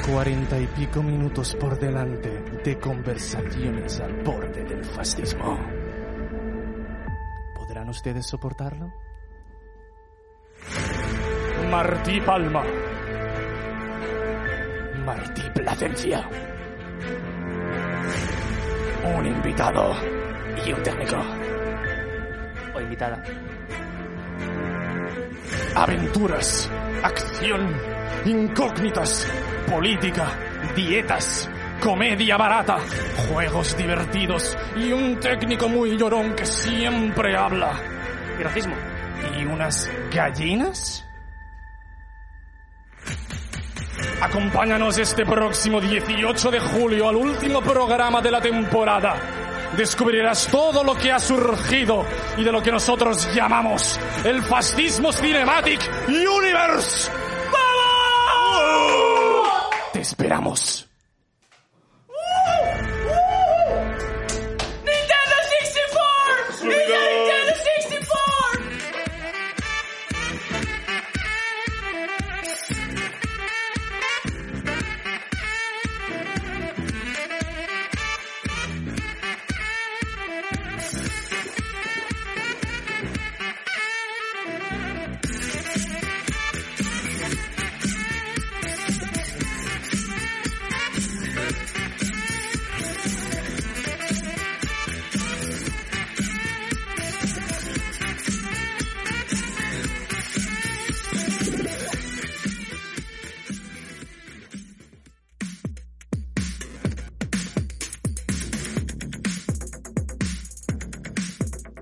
[SPEAKER 1] Cuarenta y pico minutos por delante de conversaciones al borde del fascismo. ¿Podrán ustedes soportarlo? Martí Palma. Martí Placencia. Un invitado y un técnico.
[SPEAKER 2] O invitada.
[SPEAKER 1] Aventuras, acción, incógnitas, política, dietas, comedia barata, juegos divertidos y un técnico muy llorón que siempre habla.
[SPEAKER 2] I racisme.
[SPEAKER 1] ¿Y unas gallinas? Acompáñanos este próximo 18 de julio al último programa de la temporada. Descubrirás todo lo que ha surgido y de lo que nosotros llamamos el fascismo cinematic universe. ¡Vamos! Te esperamos.
[SPEAKER 6] Thank
[SPEAKER 7] 0 1 0 1 0 0 0 0 0 1 1 1 0 1 0 1 0 1 1 1 0 1 0 0 0 1 1 0 0 0 0 1 0 0 1 0 0 0 0 0 0 1 1 0 0 1 0 1 0 1 1 1 0 0 1 1 0 1 1 1 0 0 0 0 0 1 1 0 0 0 0 1 0 1 1 0 1 1 1 0 0 1 1 1 1 0 0 1 0 1 1 0 0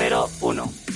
[SPEAKER 7] 0 0 1